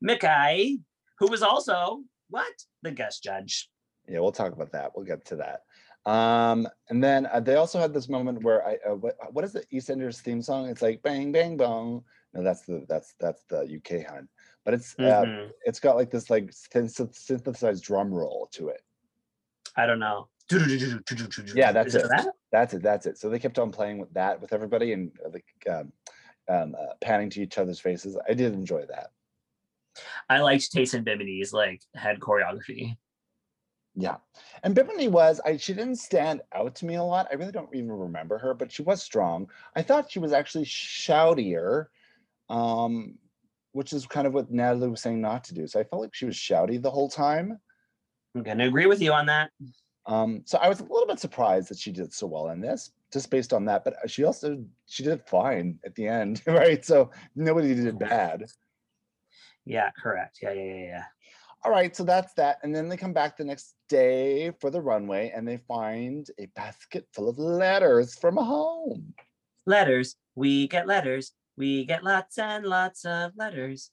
B: Mickey, who was also what the guest judge.
A: Yeah, we'll talk about that. We'll get to that. Um, and then uh, they also had this moment where I uh, what, what is the EastEnders theme song? It's like bang bang bong. No, that's the that's that's the UK hun. But it's uh,
B: Mhm.
A: it's got like this like syn- syn- synthesized drum roll to it.
B: I don't know.
A: Yeah,
B: Yeah,
A: that's it.
B: That?
A: That's it. That's it. So they kept on playing with that with everybody and uh, like um, um, uh, panning to each other's faces. I did enjoy that.
B: I liked Taysom Bimini's like head choreography.
A: Yeah. And Bimini was, I she didn't stand out to me a lot. I really don't even remember her, but she was strong. I thought she was actually shoutier, um, which is kind of what Natalie was saying not to do. So I felt like she was shouty the whole time.
B: I'm gonna agree with you on that.
A: Um, so I was a little bit surprised that she did so well in this, just based on that. But she also she did fine at the end, right? So nobody did bad.
B: Yeah, correct. Yeah, yeah, yeah, yeah.
A: All right, so that's that. And then they come back the next day for the runway and they find a basket full of letters from home.
B: Letters. We get letters. We get lots and lots of letters.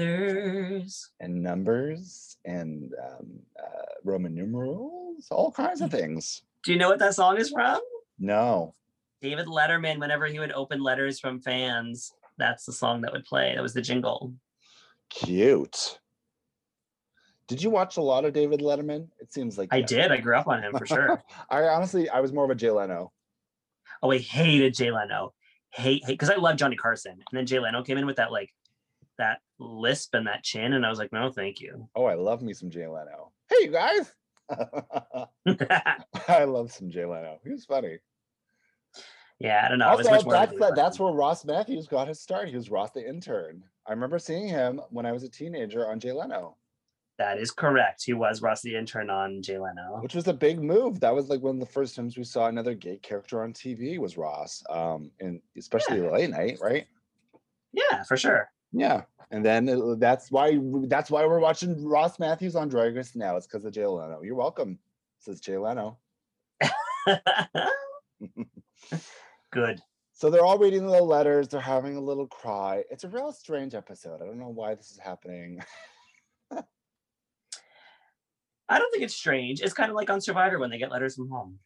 B: Letters.
A: and numbers and um, uh, Roman numerals, all kinds
B: Mm.
A: of things.
B: Do you know what that song is from?
A: No,
B: David Letterman, whenever he would open letters from fans, that's the song that would play. That was the jingle.
A: cute. Did you watch a lot of David Letterman? It seems like
B: I
A: you-
B: did. I grew up on him for sure.
A: I honestly, I was more of a Jay Leno.
B: Oh, I hated Jay Leno. Hate, hate, because I love Johnny Carson. And then Jay Leno came in with that like that lisp and that chin, and I was like, no, thank you.
A: Oh, I love me some Jay Leno. Hey, you guys.
B: yeah,
A: I love some Jay Leno. He was funny.
B: I don't know. I was
A: also,
B: much more of a
A: that's,
B: Jay
A: that, that's
B: Leno.
A: where Ross Matthews got his start. He was Ross the intern. I remember seeing him when I was a teenager on Jay Leno.
B: that is correct. He was Ross the intern on Jay Leno.
A: which was a big move. That was like one of the first times we saw another gay character on TV was Ross, um, and especially late night, right?
B: Yeah, for sure.
A: Yeah, and then it- that's why that's why we're watching Ross Matthews on Drag Race now. It's because of Jay Leno. You're welcome, says Jay Leno.
B: Good.
A: So they're all reading the letters. They're having a little cry. It's a real strange episode. I don't know why this is happening.
B: I don't think it's strange. It's kind of like on Survivor when they get letters from home.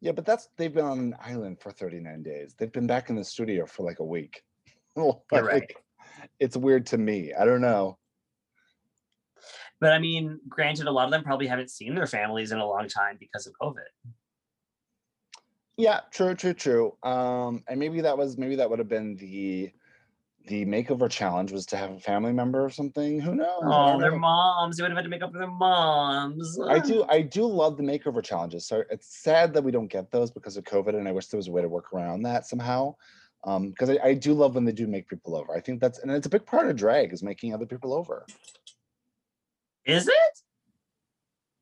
A: Yeah, but that's they've been on an island for 39 days. They've been back in the studio for like a week.
B: You're right.
A: Like, It's weird to me. I don't know.
B: But I mean, granted, a lot of them probably haven't seen their families in a long time because of COVID.
A: Yeah, true, true, true. Um, and maybe that was maybe that would have been the the makeover challenge was to have a family member or something. Who knows? I
B: Oh,
A: don't
B: their
A: know.
B: moms. They would have had to make up for their moms.
A: I do I do love the makeover challenges. So it's sad that we don't get those because of COVID, and I wish there was a way to work around that somehow. Um, because I, I do love when they do make people over. I think that's and it's a big part of drag is making other people over.
B: Is it?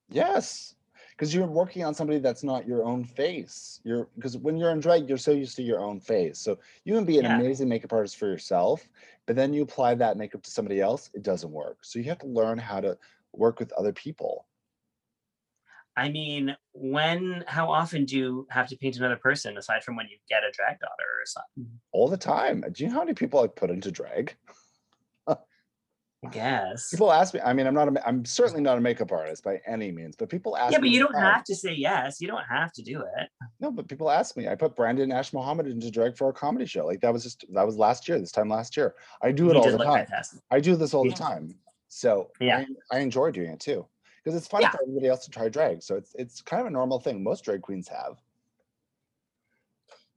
A: Yes. Because you're working on somebody that's not your own face. You're because when you're in drag, you're so used to your own face. So you can be an
B: Yeah.
A: amazing makeup artist for yourself, but then you apply that makeup to somebody else, it doesn't work. So you have to learn how to work with other people.
B: I mean, when, how often do you have to paint another person aside from when you get a drag daughter or something?
A: All the time. Do you know how many people I put into drag?
B: I guess.
A: People ask me. I mean, I'm not. A, ma- I'm certainly not a makeup artist by any means, but people ask.
B: Yeah, but
A: me
B: you
A: all the
B: don't
A: time.
B: have to say yes. You don't have to do it.
A: No, but people ask me. I put Brandon Ash Mohammed into drag for our comedy show. Like that was just that was last year. This time last year, I do it
B: you
A: all
B: did
A: the
B: look
A: time.
B: fantastic.
A: I do this all the
B: Yeah.
A: time. So
B: Yeah.
A: I, I enjoy doing it too because it's fun
B: Yeah.
A: for everybody else to try drag. So it's it's kind of a normal thing. Most drag queens have.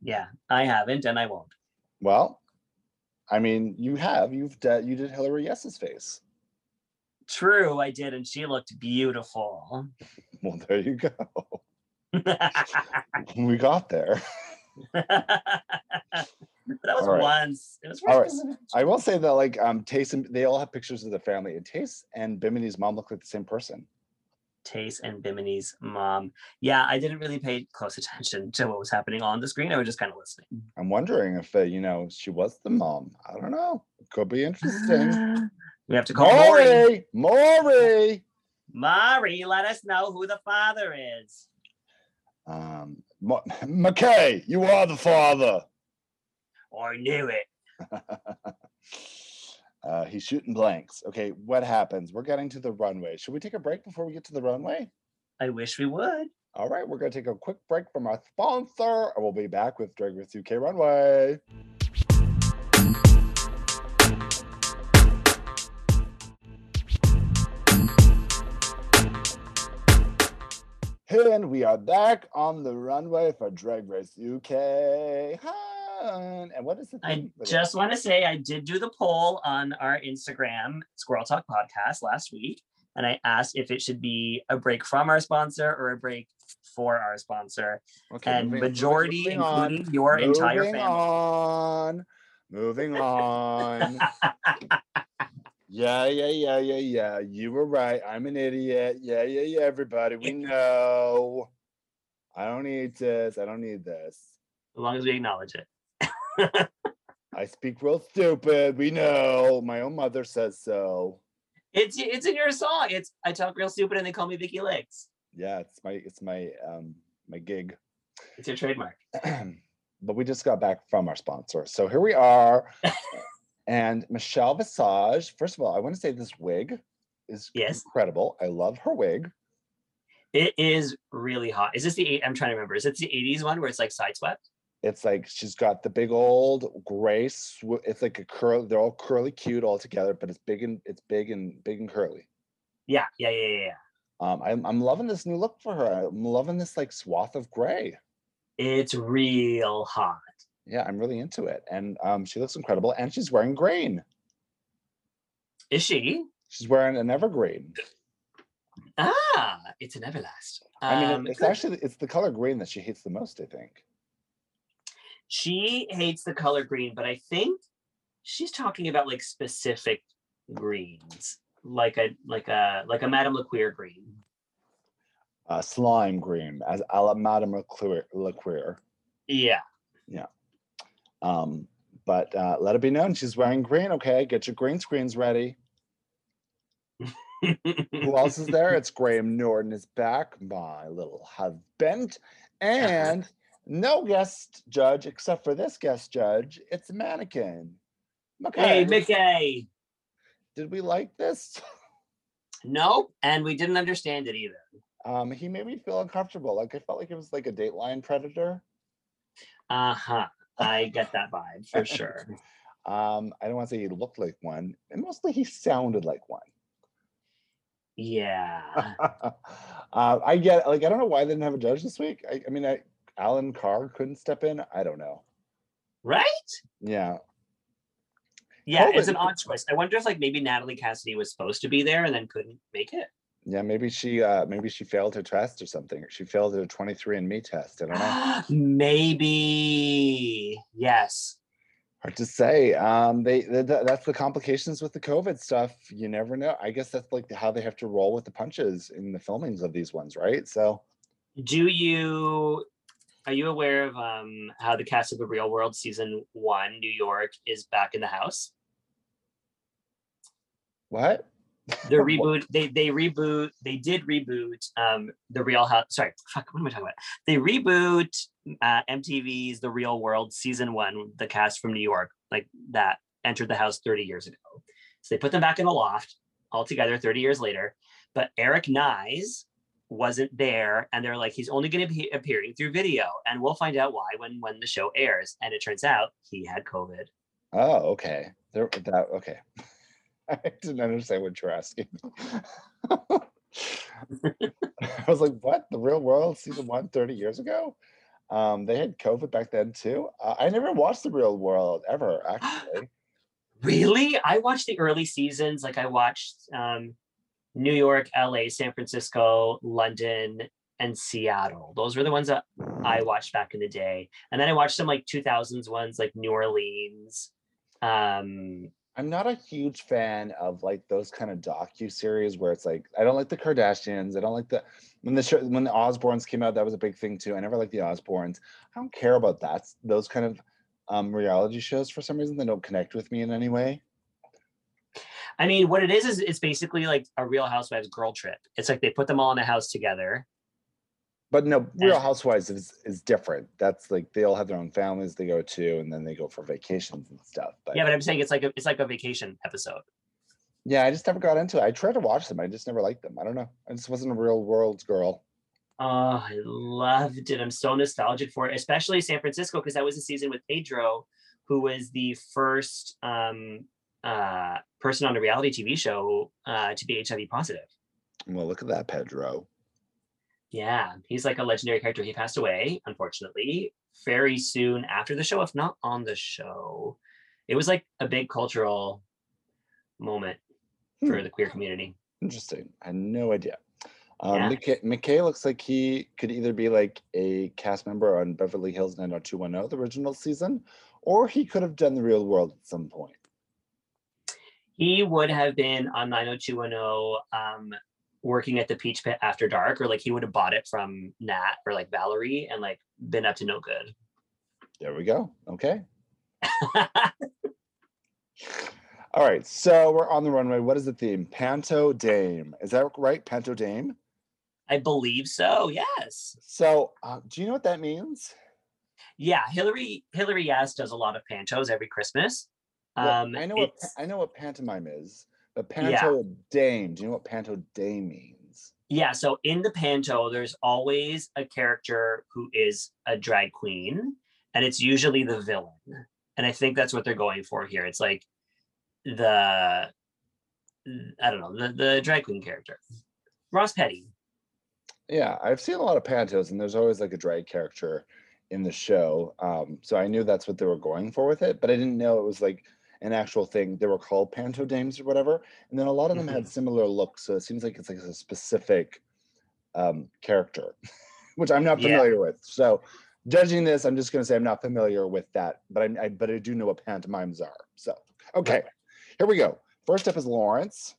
B: Yeah, I haven't and I won't.
A: Well, I mean, you have. You've de- you did Hillary Yes's face.
B: True, I did, and she looked beautiful.
A: Well, there you go. we got there.
B: that was
A: All right.
B: once. It was
A: All
B: worse.
A: I will say that like um Tace and they all have pictures of the family and Tace and Bimini's mom look like the same person.
B: Tace and Bimini's mom. Yeah, I didn't really pay close attention to what was happening on the screen. I was just kind of listening.
A: I'm wondering if uh, you know she was the mom. I don't know. It could be interesting.
B: we have to call Maury.
A: Maury, Maury.
B: Maury, let us know who the father is.
A: Um, Ma- McKay, you are the father.
B: Or knew it.
A: uh, he's shooting blanks. Okay, what happens? We're getting to the runway. Should we take a break before we get to the runway?
B: I wish we would.
A: All right, we're going to take a quick break from our sponsor, and we'll be back with Drag Race UK Runway. And we are back on the runway for Drag Race UK. Hun. And what is the
B: I
A: thing for this?
B: just want to say I did do the poll on our Instagram Squirrel Talk podcast last week, and I asked if it should be a break from our sponsor or a break for our sponsor,
A: Okay,
B: and
A: moving- moving-
B: majority,
A: moving on.
B: including your entire
A: Moving
B: family.
A: on. Moving on. yeah, yeah, yeah, yeah, yeah. You were right. I'm an idiot. Yeah, yeah, yeah, everybody. We know. I don't need this. I don't need this.
B: as long as we acknowledge it.
A: I speak real stupid. We know. My own mother says so.
B: It's it's in your song. It's I talk real stupid and they call me Vicky Legs.
A: Yeah, it's my it's my um my gig.
B: It's your trademark.
A: but we just got back from our sponsor. So here we are. and Michelle Visage, first of all, I want to say this wig is
B: Yes.
A: incredible. I love her wig.
B: It is really hot. Is this the eight? I'm trying to remember. Is it the 80s one where it's like sideswept?
A: It's like she's got the big old gray. Sw- it's like a curl. They're all curly, cute, all together, but it's big and it's big and big and curly.
B: Yeah, yeah, yeah, yeah. yeah.
A: Um, I'm I'm loving this new look for her. I'm loving this like swath of gray.
B: It's real hot.
A: Yeah, I'm really into it, and um, she looks incredible. And she's wearing green.
B: Is she?
A: She's wearing an evergreen.
B: Ah, it's an Everlast.
A: I mean, it-
B: Um,
A: it's
B: good.
A: actually it's the color green that she hates the most. I think.
B: she hates the color green, but I think she's talking about like specific greens, like a like a like a Madame Lequeer green.
A: Uh, slime green, as a la Madame Leclerc. Leclerc.
B: Yeah,
A: Um, but uh, let it be known she's wearing green. Okay, get your green screens ready. Who else is there? It's Graham Norton is back, my little husband, and no guest judge except for this guest judge. It's a mannequin. Okay,
B: Hey, Mickey.
A: did we like this?
B: Nope, and we didn't understand it either.
A: Um, he made me feel uncomfortable. Like I felt like it was like a Dateline predator.
B: Uh huh. I get that vibe for sure.
A: Um, I don't want to say he looked like one, and mostly he sounded like one.
B: Yeah.
A: uh, I get like I don't know why they didn't have a judge this week. I, I mean, I, Alan Carr couldn't step in. I don't know.
B: Right?
A: Yeah,
B: Yeah,
A: Oh,
B: it's
A: but-
B: an odd choice. I wonder if like maybe Natalie Cassidy was supposed to be there and then couldn't make it.
A: yeah. Maybe she, uh maybe she failed her test or something. She failed her 23andMe test. I don't know.
B: Maybe. Yes.
A: Hard to say. Um, they th- th- that's the complications with the COVID stuff. You never know. I guess that's like how they have to roll with the punches in the filmings of these ones, right? So
B: Do you are you aware of um how the cast of the real world season one, New York, is back in the house?
A: what?
B: The
A: What?
B: reboot, they they reboot, they did reboot um the real house. Sorry, fuck, what am I talking about? They reboot uh MTV's The Real World season one, the cast from New York, like that entered the house 30 years ago. So they put them back in the loft altogether 30 years later. But Eric Nyes wasn't there, and they're like, he's only going to be appearing through video, and we'll find out why when when the show airs. And it turns out he had COVID.
A: Oh, okay. There, that okay. I didn't understand what you're asking. I was like, "What? The Real World season one, 30 years ago? Um, they had COVID back then too. Uh, I never watched The Real World ever, actually.
B: Really? I watched the early seasons. Like I watched um, New York, LA, San Francisco, London, and Seattle. Those were the ones that I watched back in the day. And then I watched some like 2000s ones like New Orleans. Um,
A: I'm not a huge fan of like those kind of docu series where it's like I don't like the Kardashians. I don't like the when the show when the Osbournes came out that was a big thing too. I never liked the Osbournes. I don't care about that those kind of um, reality shows for some reason. They don't connect with me in any way.
B: I mean, what it is is it's basically like a Real Housewives girl trip. It's like they put them all in a house together.
A: But no, Real Housewives is, is different. That's like they all have their own families they go to, and then they go for vacations and stuff. But
B: Yeah, but I'm saying it's like a, it's like a vacation episode.
A: yeah, I just never got into it. I tried to watch them. I just never liked them. I don't know. I just wasn't a real world girl.
B: Oh, I loved it. I'm so nostalgic for it, especially San Francisco, because that was a season with Pedro, who was the first um, uh, person on a reality TV show uh, to be HIV positive.
A: Well, look at that, Pedro.
B: Yeah, he's like a legendary character. He passed away, unfortunately, very soon after the show, if not on the show. It was like a big cultural moment for
A: Hmm.
B: the queer community.
A: Interesting. I had no idea. Um,
B: Yeah.
A: McKay, McKay looks like he could either be like a cast member on Beverly Hills 90210, the original season, or he could have done the real world at some point.
B: He would have been on 90210 um, working at the Peach Pit after dark, or like he would have bought it from Nat or like Valerie and like been up to no good.
A: There we go. Okay. All right. So we're on the runway. What is the theme? Panto Dame. Is that right? Panto Dame.
B: I believe so. Yes.
A: So uh, do you know what that means?
B: Yeah. Hillary Hillary Yas does a lot of panchos every Christmas.
A: Well,
B: Um,
A: I know what pa-
B: it's-
A: I know what pantomime is, but
B: Yeah.
A: Panto Dame. Do you know what Panto Dame means?
B: Yeah, so in the panto, there's always a character who is a drag queen, and it's usually the villain. And I think that's what they're going for here. It's like the mm, I don't know, the, the drag queen character. Ross Petty.
A: Yeah, I've seen a lot of pantos, and there's always like a drag character in the show. Um, so I knew that's what they were going for with it, but I didn't know it was like an actual thing. They were called panto dames or whatever, and then a lot of them had similar looks. So it seems like it's like a specific um, character, which I'm not
B: Yeah.
A: familiar with. So judging this, I'm just going to say I'm not familiar with that, but I'm, I but I do know what pantomimes are. So okay, here we go. First up is Lawrence.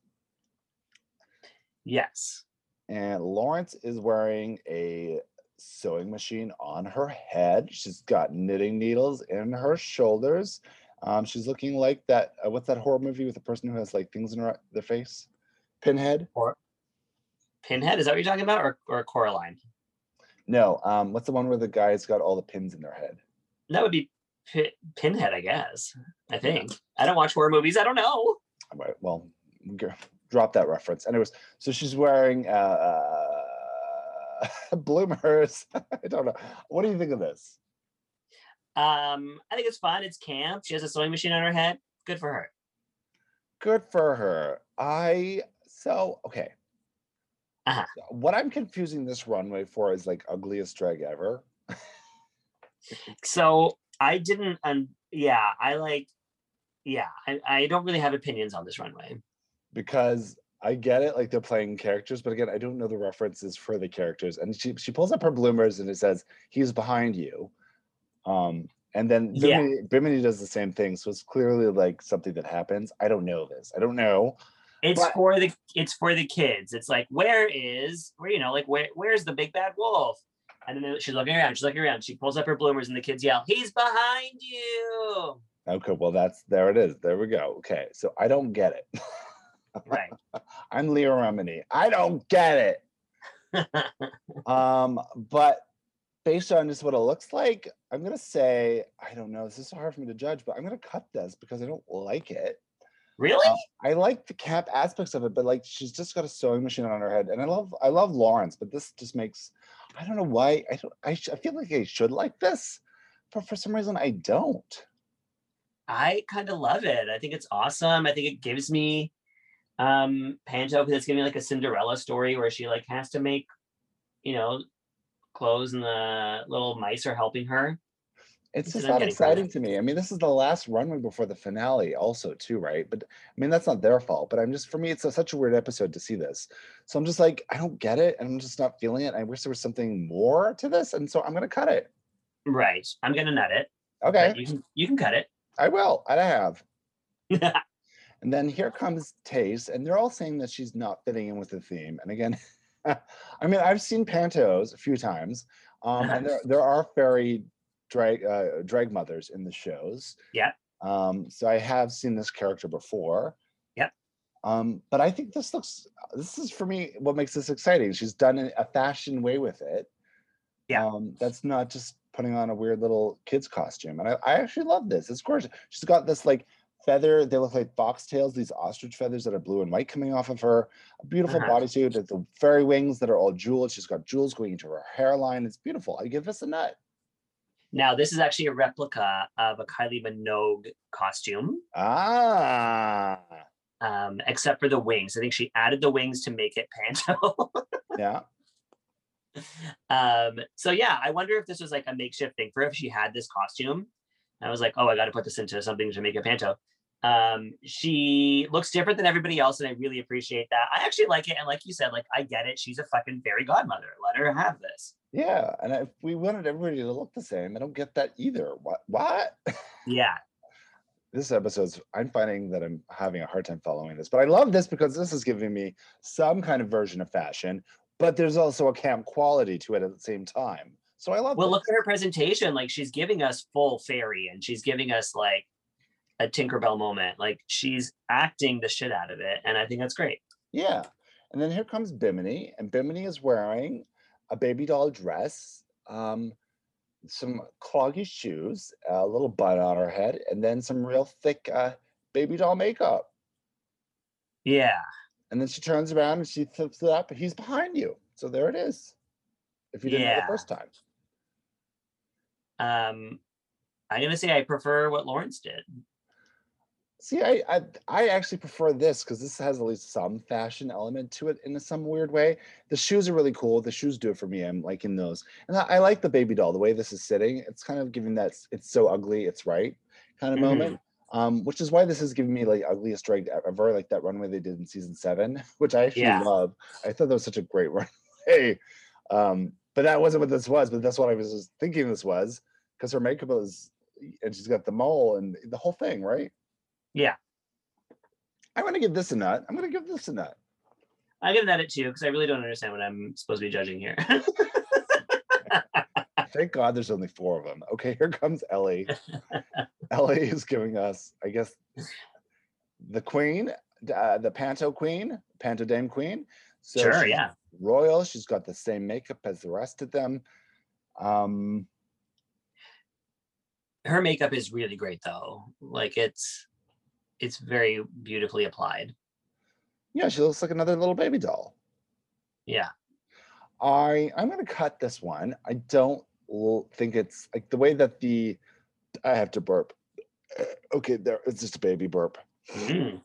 B: Yes.
A: and Lawrence is wearing a sewing machine on her head. She's got knitting needles in her shoulders. Um, she's looking like that. Uh, what's that horror movie with the person who has like things in her, their face? Pinhead?
B: Pinhead, is that what you're talking about? Or or Coraline?
A: No. Um, what's the one where the guy's got all the pins in their head?
B: That would be Pi- Pinhead, I guess. I think. I don't watch horror movies. I don't know.
A: All right, well, g- drop that reference. Anyways, so she's wearing uh, bloomers. I don't know. What do you think of this?
B: Um, I think it's fun. It's camp. She has a sewing machine on her head. Good for her.
A: Good for her. I so okay.
B: Uh-huh.
A: What I'm confusing this runway for is like ugliest drag ever.
B: so i didn't um yeah i like yeah I, I don't really have opinions on this runway
A: because I get it, like they're playing characters, but again, I don't know the references for the characters. And she she pulls up her bloomers and it says, "He's behind you," um, and then
B: Yeah.
A: Bimini, Bimini does the same thing. So it's clearly like something that happens. I don't know this. I don't know.
B: it's
A: But-
B: for the it's for the kids it's like where is where you know like where where's the big bad wolf and then they- she's looking around she's looking around she pulls up her bloomers and the kids yell he's behind you
A: Okay, well that's there it is. There we go. Okay, so I don't get it.
B: right
A: I'm Leah Remini. I don't get it. Um, but based on just what it looks like, I'm gonna say I don't know. This is hard for me to judge, but I'm gonna cut this because I don't like it.
B: Really?
A: I like the cap aspects of it, but like she's just got a sewing machine on her head, and I love I love Lawrence, but this just makes I don't know why I don't I, sh- I feel like I should like this, but for some reason I don't.
B: I kind of love it. I think it's awesome. I think it gives me um Panto because it's giving me like a Cinderella story where she like has to make, you know, clothes and the little mice are helping her.
A: It's
B: That's
A: just
B: what
A: not
B: I'm getting from it.
A: exciting to me. I mean, this is the last runway before the finale, also too, right? But I mean, that's not their fault. But I'm just for me, it's a, such a weird episode to see this. So I'm just like, I don't get it, and I'm just not feeling it. I wish there was something more to this, and so I'm gonna cut it.
B: Right. I'm gonna nut it.
A: Okay,
B: but You can you can cut it.
A: I will. I have. And then here comes Taste, and they're all saying that she's not fitting in with the theme. And again, I mean, I've seen pantos a few times, um, and there, there are fairy drag uh, drag mothers in the shows.
B: Yeah.
A: Um, so I have seen this character before.
B: Yep.
A: Um, but I think this looks. This is for me what makes this exciting. She's done it a fashion way with it.
B: Yeah.
A: Um, that's not just putting on a weird little kid's costume. And I, I actually love this. It's gorgeous. She's got this like feather. They look like foxtails, these ostrich feathers that are blue and white coming off of her. A beautiful
B: Uh-huh.
A: bodysuit with the fairy wings that are all jeweled. She's got jewels going into her hairline. It's beautiful. I give this a nut.
B: Now this is actually a replica of a Kylie Minogue costume,
A: Ah.
B: um, except for the wings. I think she added the wings to make it Panto.
A: Yeah.
B: um, so yeah, I wonder if this was like a makeshift thing for her, if she had this costume. I was like, oh, I got to put this into something to make a Panto. Um, she looks different than everybody else, and I really appreciate that. I actually like it, and like you said, like I get it. She's a fucking fairy godmother. Let her have this.
A: Yeah. And if we wanted everybody to look the same, I don't get that either. What what?
B: Yeah,
A: This episode's I'm finding that I'm having a hard time following this, but I love this because this is giving me some kind of version of fashion, but there's also a camp quality to it at the same time. So I love
B: Well,
A: this.
B: look at her presentation. Like she's giving us full fairy and she's giving us like a Tinkerbell moment. Like she's acting the shit out of it. And I think that's great.
A: Yeah. And then here comes Bimini, and Bimini is wearing a baby doll dress, um, some cloggy shoes, a little bun on her head, and then some real thick uh, baby doll makeup.
B: Yeah.
A: And then she turns around and she flips it up. He's behind you. So there it is. If you didn't know
B: Yeah.
A: the first time.
B: Um, I'm gonna say I prefer what Lawrence did.
A: See, I I, I actually prefer this because this has at least some fashion element to it in some weird way. The shoes are really cool. The shoes do it for me. I'm liking those, and I, I like the baby doll. The way this is sitting, it's kind of giving that s- it's so ugly, it's right kind of
B: Mhm.
A: moment. Um, which is why this is giving me like ugliest drag e-, ever, like that runway they did in season seven, which I actually
B: Yeah.
A: love. I thought that was such a great runway. Um, but that wasn't what this was. But that's what I was just thinking this was because her makeup is, and she's got the mole and the whole thing, right?
B: Yeah.
A: I'm gonna give this a nut. I'm gonna give this a nut.
B: I'm gonna nut it too, because I really don't understand what I'm supposed to be judging here.
A: Thank God there's only four of them. Okay, here comes Ellie. Ellie is giving us, I guess, the queen, d- uh, the panto queen, panto dame queen. So
B: sure,
A: she's
B: yeah.
A: royal. She's got the same makeup as the rest of them. Um,
B: Her makeup is really great though. Like it's it's very beautifully applied.
A: yeah, she looks like another little baby doll.
B: Yeah.
A: I I'm gonna cut this one. I don't l- think it's like the way that the I have to burp. Okay, there it's just a baby burp.
B: Mm.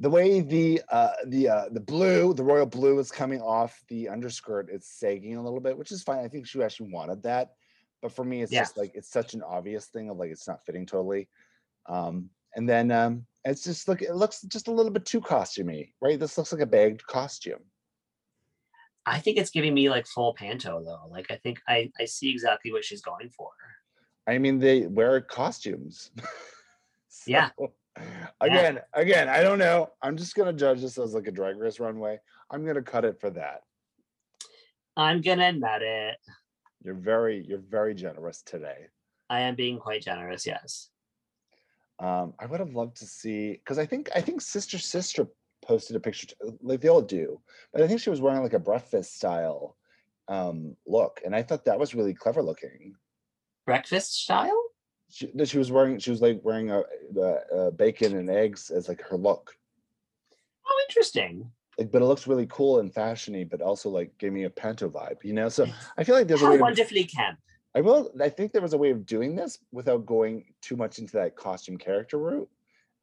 A: the way the uh the uh the blue the royal blue is coming off the underskirt it's sagging a little bit which is fine i think she actually wanted that but for me it's
B: Yeah.
A: just like it's such an obvious thing of like it's not fitting totally um and then um it's just look it looks just a little bit too costumey right this looks like a bagged costume
B: I think it's giving me like full panto though. Like I think I I see exactly what she's going for.
A: i mean they wear costumes
B: Yeah.
A: So, again again i don't know i'm just gonna judge this as like a drag race runway i'm gonna cut it for that
B: I'm gonna nut it.
A: you're very you're very generous today
B: I am being quite generous, yes.
A: Um, I would have loved to see because I think I think Sister Sister posted a picture t- like they all do, but I think she was wearing like a breakfast style um, look, and I thought that was really clever looking.
B: Breakfast style?
A: she, that she was wearing she was like wearing a the uh, bacon and eggs as like her look
B: Oh, interesting.
A: like but it looks really cool and fashiony but also like gave me a panto vibe you know so i feel like there's a
B: How
A: way to,
B: wonderfully camp.
A: i will i think there was a way of doing this without going too much into that costume character route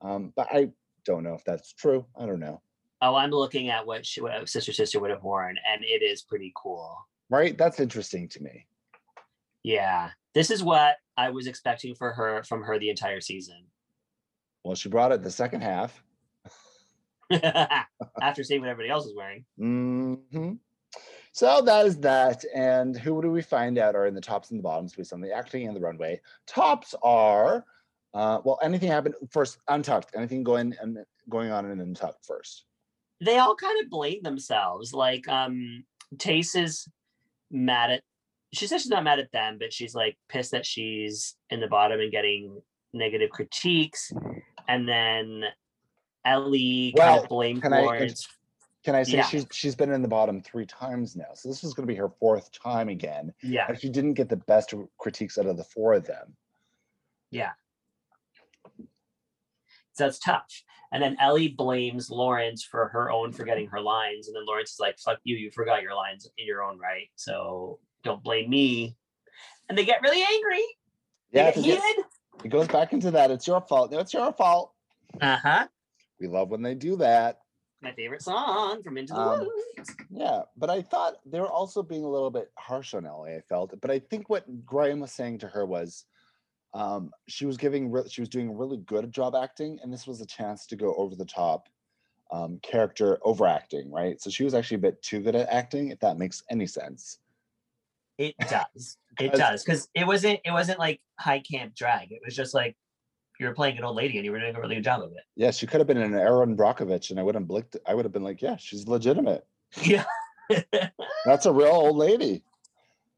A: um but i don't know if that's true i don't know
B: Oh, I'm looking at what, she, what Sister Sister would have worn, and it is pretty cool.
A: right that's interesting to me
B: Yeah, this is what I was expecting for her from her the entire season.
A: well she brought it the second half
B: After seeing what everybody else is wearing,
A: hmm So that is that. And who do we find out are in the tops and the bottoms based on the acting and the runway? Tops are, uh, well, anything happened first, untucked, anything going and going on in untucked first.
B: they all kind of blame themselves. Like, um, Tace is mad at. She says she's not mad at them, but she's like pissed that she's in the bottom and getting negative critiques. And then Ellie kind
A: Well,
B: of blamed
A: can I-
B: Florence.
A: Can I say
B: Yeah.
A: she's she's been in the bottom three times now? So this is going to be her fourth time again.
B: yeah,
A: And she didn't get the best critiques out of the four of them.
B: So that's tough. And then Ellie blames Lawrence for her own forgetting her lines. And then Lawrence is like, fuck you, you forgot your lines in your own right. So don't blame me. And they get really angry. They
A: Yeah,
B: get
A: it goes-
B: heated.
A: it goes back into that. It's your fault. No, it's your fault.
B: Uh-huh.
A: We love when they do that.
B: My favorite song from Into the
A: Um,
B: Woods.
A: Yeah, but I thought they were also being a little bit harsh on Ellie. I felt, but I think what Graham was saying to her was, um, she was giving, re- she was doing a really good job acting, and this was a chance to go over the top, um, character overacting, right? So she was actually a bit too good at acting, if that makes any sense.
B: It does. It
A: 'Cause-
B: does. Because it wasn't it wasn't like high camp drag. It was just like you were playing an old lady and you were doing a really good job of it.
A: Yeah, she could have been an Aaron Brockovich, and I wouldn't blinked. I would have been like, yeah, she's legitimate.
B: Yeah.
A: That's a real old lady.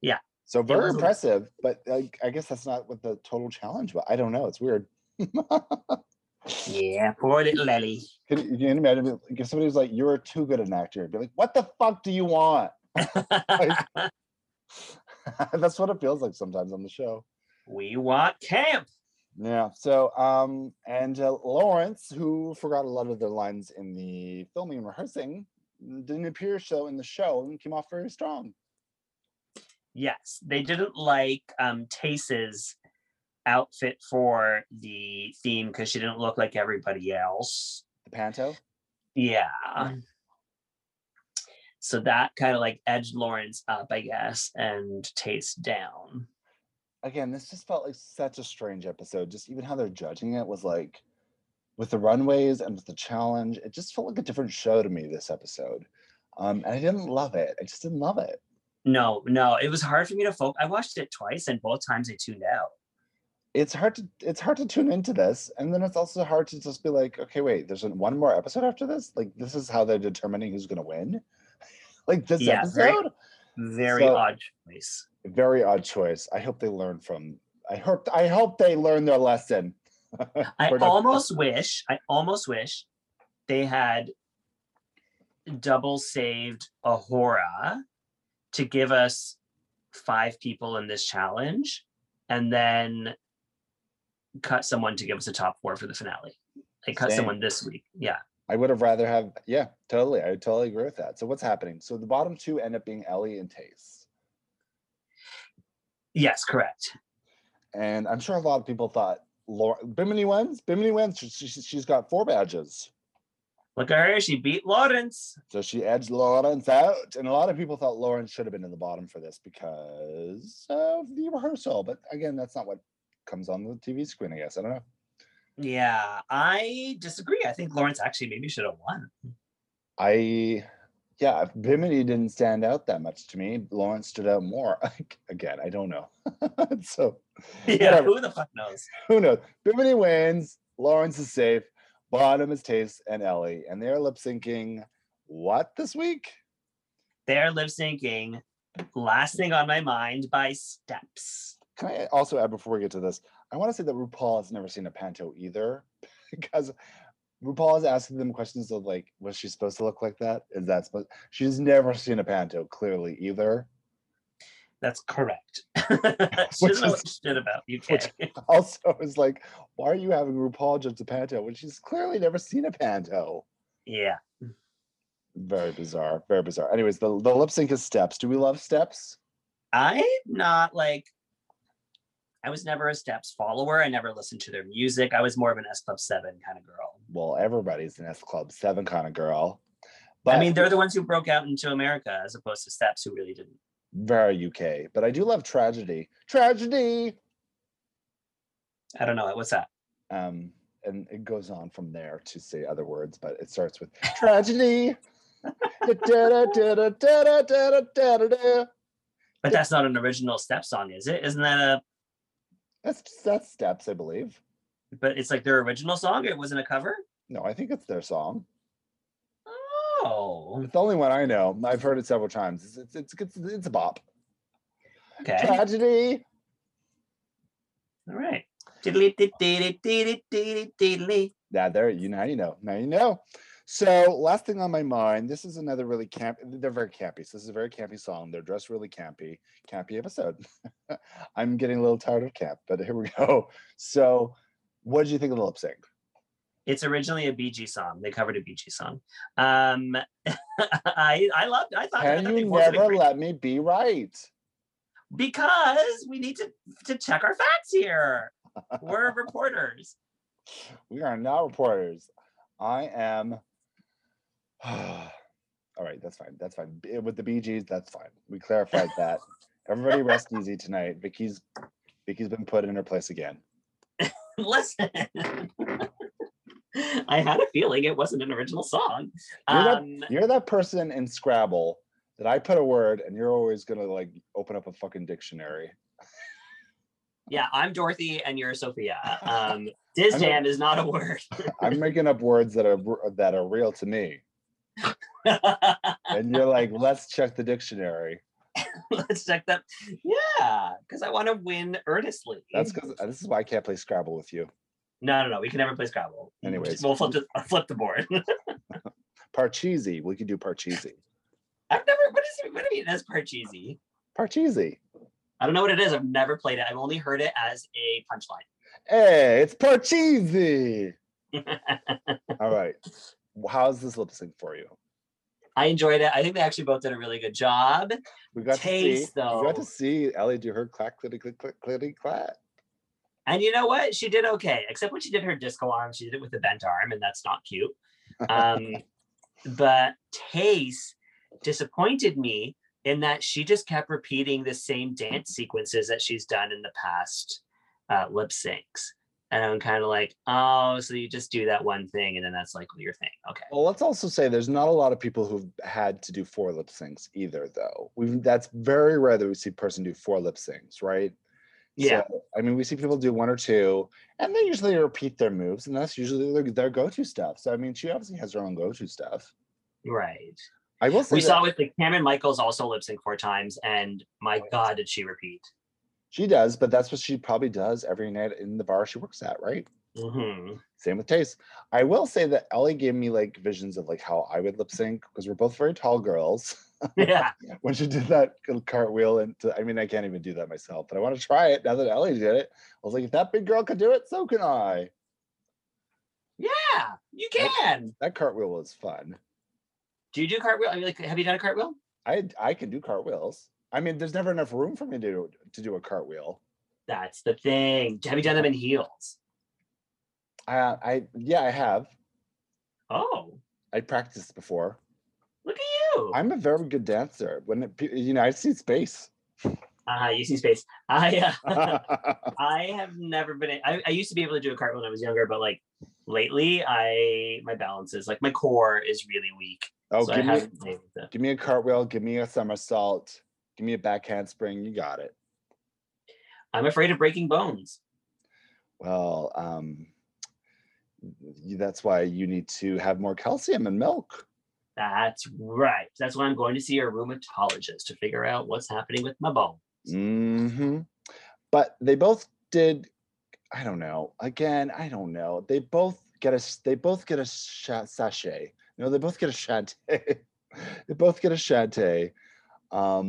B: Yeah.
A: So very
B: was a-
A: impressive, but I, I guess that's not what the total challenge was. I don't know. It's weird.
B: yeah, poor little Ellie.
A: Can you, can you imagine if- if somebody was like, "You're too good an actor"? I'd be like, "What the fuck do you want?" That's what it feels like sometimes on the show.
B: we want camp.
A: Yeah. So, um, and uh, Lawrence, who forgot a lot of their lines in the filming and rehearsing, didn't appear so in the show and came off very strong.
B: Yes, they didn't like um Tace's outfit for the theme because she didn't look like everybody else.
A: The panto.
B: Yeah. So that kind of like edged Lawrence up, I guess, and Tace down.
A: Again, this just felt like such a strange episode. Just even how they're judging it was like, with the runways and with the challenge, it just felt like a different show to me this episode. Um, and I didn't love it. I just didn't love it.
B: No, no, it was hard for me to focus. I watched it twice and both times I tuned out.
A: it's hard to it's hard to tune into this and then it's also hard to just be like okay wait there's an- one more episode after this like this is how they're determining who's going to win like this
B: Yeah, very-
A: episode
B: Very
A: So-
B: odd choice.
A: very odd choice i hope they learn from i hope i hope they learn their lesson
B: I
A: We're not-
B: almost wish, I almost wish they had double saved Ahura to give us five people in this challenge and then cut someone to give us a top four for the finale. They cut
A: Same.
B: someone this week. Yeah.
A: i would have rather have yeah totally i totally agree with that so what's happening so the bottom two end up being ellie and tace
B: Yes, correct.
A: and i'm sure a lot of people thought Laura, bimini wins bimini wins she, she, she's got four badges
B: Look at her. She beat Lawrence.
A: So she edged Lawrence out, and a lot of people thought Lawrence should have been in the bottom for this because of the rehearsal. But again, that's not what comes on the TV screen, I guess. I don't know.
B: Yeah, I disagree. I think Lawrence actually maybe should have won.
A: I, yeah, Bimini didn't stand out that much to me. Lawrence stood out more. again, I don't know. so
B: Yeah,
A: Whatever.
B: who the fuck knows?
A: who knows? Bimini wins. Lawrence is safe. Bottom is Tace and Ellie, and they're lip syncing. What this week?
B: They're lip syncing Last Thing on My Mind by Steps.
A: Can I also add before we get to this? I want to say that RuPaul has never seen a panto either, because RuPaul is asking them questions of like, was she supposed to look like that? Is that supposed? She's never seen a panto clearly either.
B: That's correct. she doesn't know
A: is-
B: what shit about UK.
A: Also, is like, why are you having RuPaul judge a panto when she's clearly never seen a panto?
B: yeah.
A: Very bizarre. Very bizarre. Anyways, the, the lip sync is steps. Do we love steps?
B: I'm not like I was never a Steps follower. I never listened to their music. I was more of an S Club Seven kind of girl.
A: Well, everybody's an S Club 7 kind of girl. But
B: I mean, they're the ones who broke out into America as opposed to Steps, who really didn't.
A: very UK. But I do love tragedy. Tragedy.
B: I don't know what's that.
A: Um, and it goes on from there to say other words, but it starts with tragedy. Da-da-da-da-da-da-da-da-da-da.
B: But that's not an original Steps song, is it? Isn't that a?
A: That's that's steps, I believe.
B: But it's like their original song. It wasn't a cover.
A: No, I think it's their song.
B: Oh,
A: It's the only one I know. I've heard it several times. It's it's it's, it's, it's a bop.
B: okay.
A: Tragedy.
B: All right. Diddly did diddly diddly diddly diddly.
A: Yeah, there you now you know. Now you know. So last thing on my mind, this is another really camp. They're very campy. So this is a very campy song. They're dressed really campy, campy episode. I'm getting a little tired of camp, but here we go. So what did you think of the lip sync?
B: It's originally a BG song. They covered a BG song. Um, I I loved. I thought. I
A: Can
B: thought they
A: you
B: both did a
A: never
B: great
A: let me be right?
B: because we need to to check our facts here. We're reporters.
A: We are not reporters. I am. All right, that's fine. That's fine. B- With the BGs, that's fine. We clarified that. Everybody rest easy tonight. Vicky's Vicky's been put in her place again.
B: Listen, I had a feeling it wasn't an original song.
A: You're not-
B: Um,
A: You're that person in Scrabble that I put a word and you're always gonna like open up a fucking dictionary.
B: yeah, I'm Dorothy and you're Sophia. Um, Disjam is not a word.
A: I'm making up words that are r- that are real to me, and you're like, let's check the dictionary.
B: Let's check that. Yeah, because I want to win earnestly.
A: That's because this is why I can't play Scrabble with you.
B: no, no, no. We can never play Scrabble.
A: Anyways.
B: we'll flip the, flip the board.
A: Parcheesi, we could do Parcheesi.
B: I've never. What is it? What do you mean? That's Parcheesi.
A: Parcheesi.
B: I don't know what it is. I've never played it. I've only heard it as a punchline.
A: Hey, it's Parcheesi. All right. W- How's this lip sync for you?
B: I enjoyed it. I think they actually both did a really good job.
A: We got to see.
B: Taste,
A: We got
B: though.
A: to see Ellie do her clack, clitty, click, click, clitty, clack.
B: And you know what? She did okay, except when she did her disco arm, she did it with the bent arm, and that's not cute. Um, but Tace disappointed me in that she just kept repeating the same dance sequences that she's done in the past uh, lip syncs. And I'm kind of like, oh, so you just do that one thing, and then that's like your thing. Okay.
A: Well, let's also say there's not a lot of people who've had to do four lip syncs either, though. We've that's very rare that we see a person do four lip syncs, right?
B: Yeah.
A: So, I mean, we see people do one or two, and they usually repeat their moves, and that's usually their, their go-to stuff. So I mean, she obviously has her own go-to stuff.
B: Right.
A: I will say
B: We
A: that
B: saw with the Cameron Michaels also lip sync four times, and my
A: Right.
B: God, did she repeat?
A: she does, but that's what she probably does every night in the bar she works at, right?
B: hmm
A: Same with taste. I will say that Ellie gave me like visions of like how I would lip sync because we're both very tall girls.
B: Yeah,
A: when she did that little cartwheel and to, I mean I can't even do that myself, but I want to try it now that Ellie did it. I was like, if that big girl could do it, so can I.
B: yeah, you can.
A: That cartwheel was fun.
B: Do you do cartwheel? I mean, like, have you done a cartwheel?
A: I I can do cartwheels. I mean, there's never enough room for me to do, to do a cartwheel.
B: That's the thing. Have you done them in heels?
A: I I yeah I have.
B: Oh,
A: I practiced before.
B: look at you.
A: I'm a very good dancer. When it, pe- you know I see space.
B: Uh, you see space. I uh,
A: I
B: I have never been. a- I, I used to be able to do a cartwheel when I was younger, but like lately, I my balance is like my core is really weak.
A: oh
B: so I
A: give me
B: haven't been able to-
A: give me a cartwheel. Give me a somersault. Give me a back handspring. You got it.
B: I'm afraid of breaking bones.
A: Well, um, y- that's why you need to have more calcium and milk.
B: That's right. That's why I'm going to see a rheumatologist to figure out what's happening with my bone.
A: hmm But they both did. I don't know. Again, I don't know. They both get a. s- They both get a sha- sachet. No, they both get a shante. they both get a shante. Um,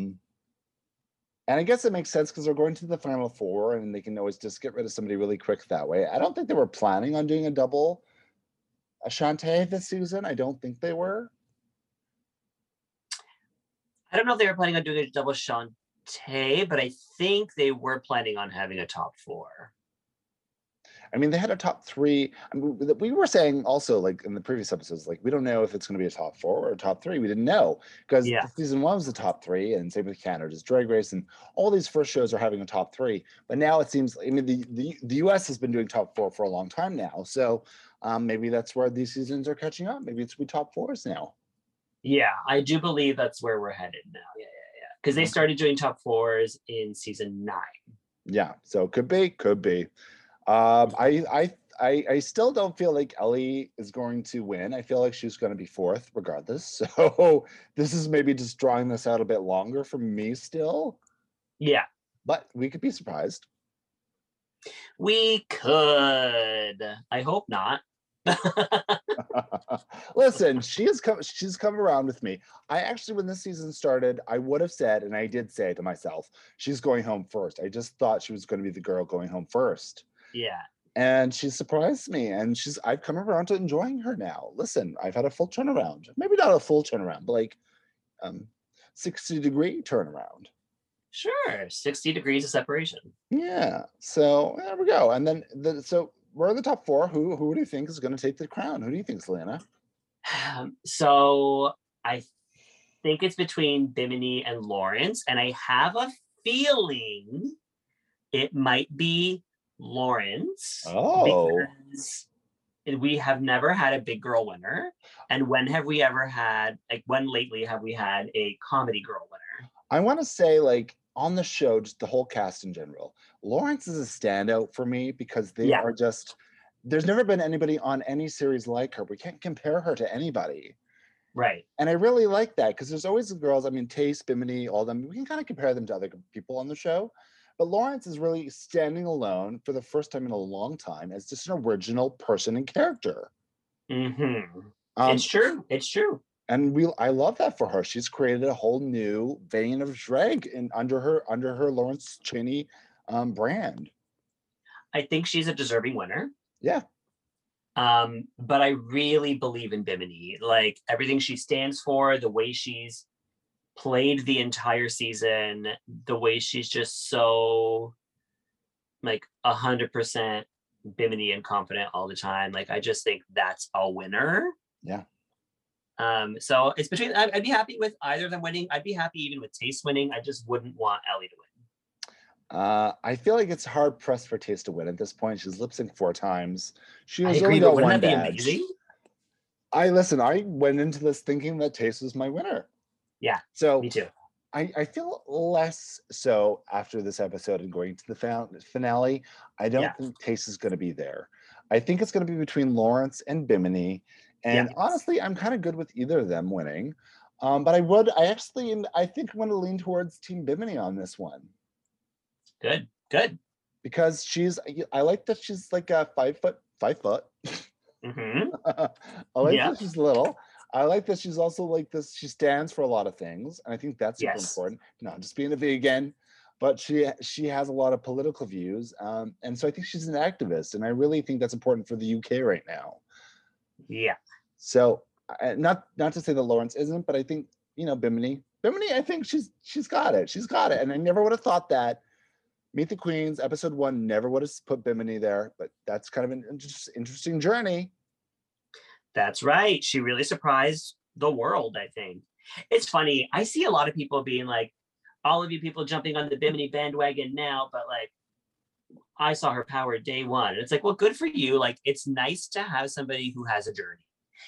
A: And I guess it makes sense because they're going to the final four and they can always just get rid of somebody really quick that way. I don't think they were planning on doing a double Ashante this season. I don't think they were.
B: I don't know if they were planning on doing a double Shantae, but I think they were planning on having a top four.
A: I mean, they had a top three. I mean, we- we were saying also, like in the previous episodes, like we don't know if it's going to be a top four or a top three. We didn't know because
B: Yeah.
A: season one was the top three, and same with Canada's Drag Race, and all these first shows are having a top three. But now it seems, I mean, the the, the U.S. has been doing top four for a long time now, so um, maybe that's where these seasons are catching up. Maybe it's we top fours now.
B: Yeah, I do believe that's where we're headed now. Yeah, yeah, yeah. Because they
A: Okay.
B: started doing top fours in season nine.
A: Yeah, so could be, could be. Um, I, I, I, I still don't feel like Ellie is going to win. I feel like she's going to be fourth, regardless. So this is maybe just drawing this out a bit longer for me still,
B: Yeah,
A: but we could be surprised.
B: we could. I hope not.
A: Listen, she has come. She's come around with me. I actually, when this season started, I would have said, and I did say to myself, she's going home first. I just thought she was going to be the girl going home first.
B: yeah.
A: and she surprised me and she's i've come around to enjoying her now listen i've had a full turnaround maybe not a full turnaround but like um 60 degree turnaround
B: Sure. 60 degrees of separation.
A: yeah so there we go and then the, so we're in the top four who who do you think is going to take the crown who do you think is lana
B: Um, so I think it's between Bimini and Lawrence, and I have a feeling it might be Lawrence.
A: Oh.
B: because we have never had a big girl winner. And when have we ever had, like, when lately have we had a comedy girl winner?
A: I want to say, like, on the show, just the whole cast in general, Lawrence is a standout for me because they
B: Yeah.
A: are just, there's never been anybody on any series like her. We can't compare her to anybody.
B: Right.
A: And I really like that because there's always the girls, I mean, Tay, Bimini, all them, we can kind of compare them to other people on the show. But Lawrence is really standing alone for the first time in a long time as just an original person and character.
B: hmm
A: Um,
B: it's true. It's true.
A: and we I love that for her. She's created a whole new vein of drag in under her under her Lawrence Cheney um, brand.
B: I think she's a deserving winner.
A: Yeah.
B: Um, but I really believe in Bimini. Like everything she stands for, the way she's played the entire season, the way she's just so like a hundred percent Bimini and confident all the time. Like I just think that's a winner.
A: Yeah.
B: Um, so it's between I'd, I'd be happy with either of them winning. I'd be happy even with Taste winning. I just wouldn't want Ellie to win.
A: Uh, I feel like it's hard pressed for Taste to win at this point. She's lip synced four times. She
B: I
A: has
B: agree,
A: only
B: but
A: got
B: wouldn't
A: one
B: that be
A: badge.
B: amazing?
A: I listen. I went into this thinking that Taste was my winner.
B: Yeah,
A: So
B: Me too.
A: I, I feel less so after this episode and going to the fin- finale. I don't
B: Yeah.
A: think Taste is going to be there. I think it's going to be between Lawrence and Bimini. And
B: Yes.
A: honestly, I'm kind of good with either of them winning. Um, but I would, I actually, and I think I'm going to lean towards Team Bimini on this one
B: Good, good.
A: because she's, I- I like that she's like a five foot, five foot.
B: hmm
A: I like
B: Yeah.
A: that she's little. I like that she's also like this. She stands for a lot of things, and I think that's super
B: Yes.
A: important. Not just being a vegan, but she she has a lot of political views, um, and so I think she's an activist, and I really think that's important for the UK right now.
B: Yeah.
A: So, I- not not to say that Lawrence isn't, but I think you know Bimini. Bimini, I think she's she's got it. She's got it, and I never would have thought that. Meet the Queens, episode one, never would have put Bimini there, but that's kind of an inter- interesting journey.
B: That's right. She really surprised the world, I think. It's funny. I see a lot of people being like, all of you people jumping on the Bimini bandwagon now, but like, I saw her power day one. And it's like, well, good for you. Like, it's nice to have somebody who has a journey.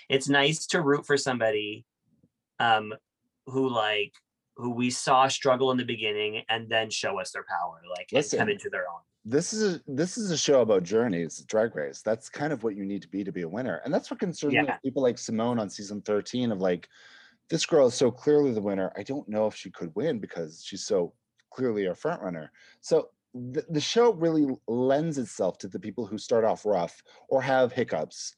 B: It's nice to root for somebody um, who, like, who we saw struggle in the beginning and then show us their power, like, and
A: Listen.
B: come into their own.
A: this is a, this is a show about journeys drag race that's kind of what you need to be to be a winner and that's what concerns me
B: Yeah.
A: with people like simone on season 13 of like this girl is so clearly the winner i don't know if she could win because she's so clearly a front runner so the, the show really lends itself to the people who start off rough or have hiccups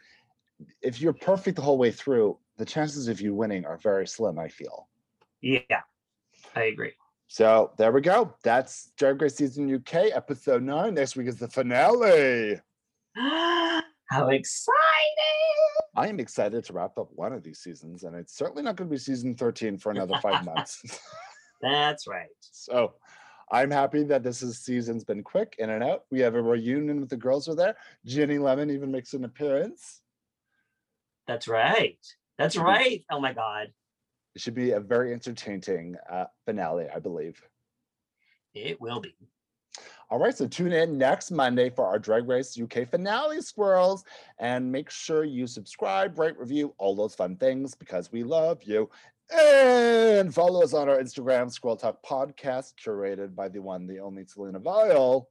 A: if you're perfect the whole way through the chances of you winning are very slim i feel
B: Yeah, I agree.
A: So there we go. That's Drag Race Season UK, episode nine. Next week is the finale.
B: How exciting!
A: I am excited to wrap up one of these seasons, and it's certainly not going to be season 13 for another five months.
B: That's right.
A: So I'm happy that this is, season's been quick in and out. We have a reunion with the girls are there. Ginny Lemon even makes an appearance.
B: That's right. That's
A: Mhm.
B: right. Oh my God.
A: It should be a very entertaining uh, finale, I believe.
B: It will be.
A: All right, so tune in next Monday for our Drag Race UK finale, squirrels, and make sure you subscribe, rate, review, all those fun things because we love you. And follow us on our Instagram, Squirrel Talk Podcast, curated by the one, the only Selena Vile.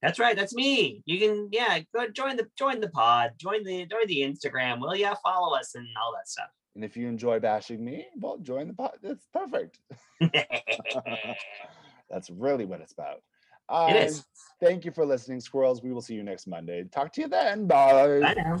B: That's right. That's me. You can yeah, go join the join the pod, join the join the Instagram. Will yeah, follow us and all that
A: And if you enjoy bashing me, well, join the pod. It's perfect.
B: stuff.
A: That's really what it's about.
B: it is.
A: Um, Thank you for listening, squirrels. We will see you next Monday. Talk to you then. Bye.
B: I know.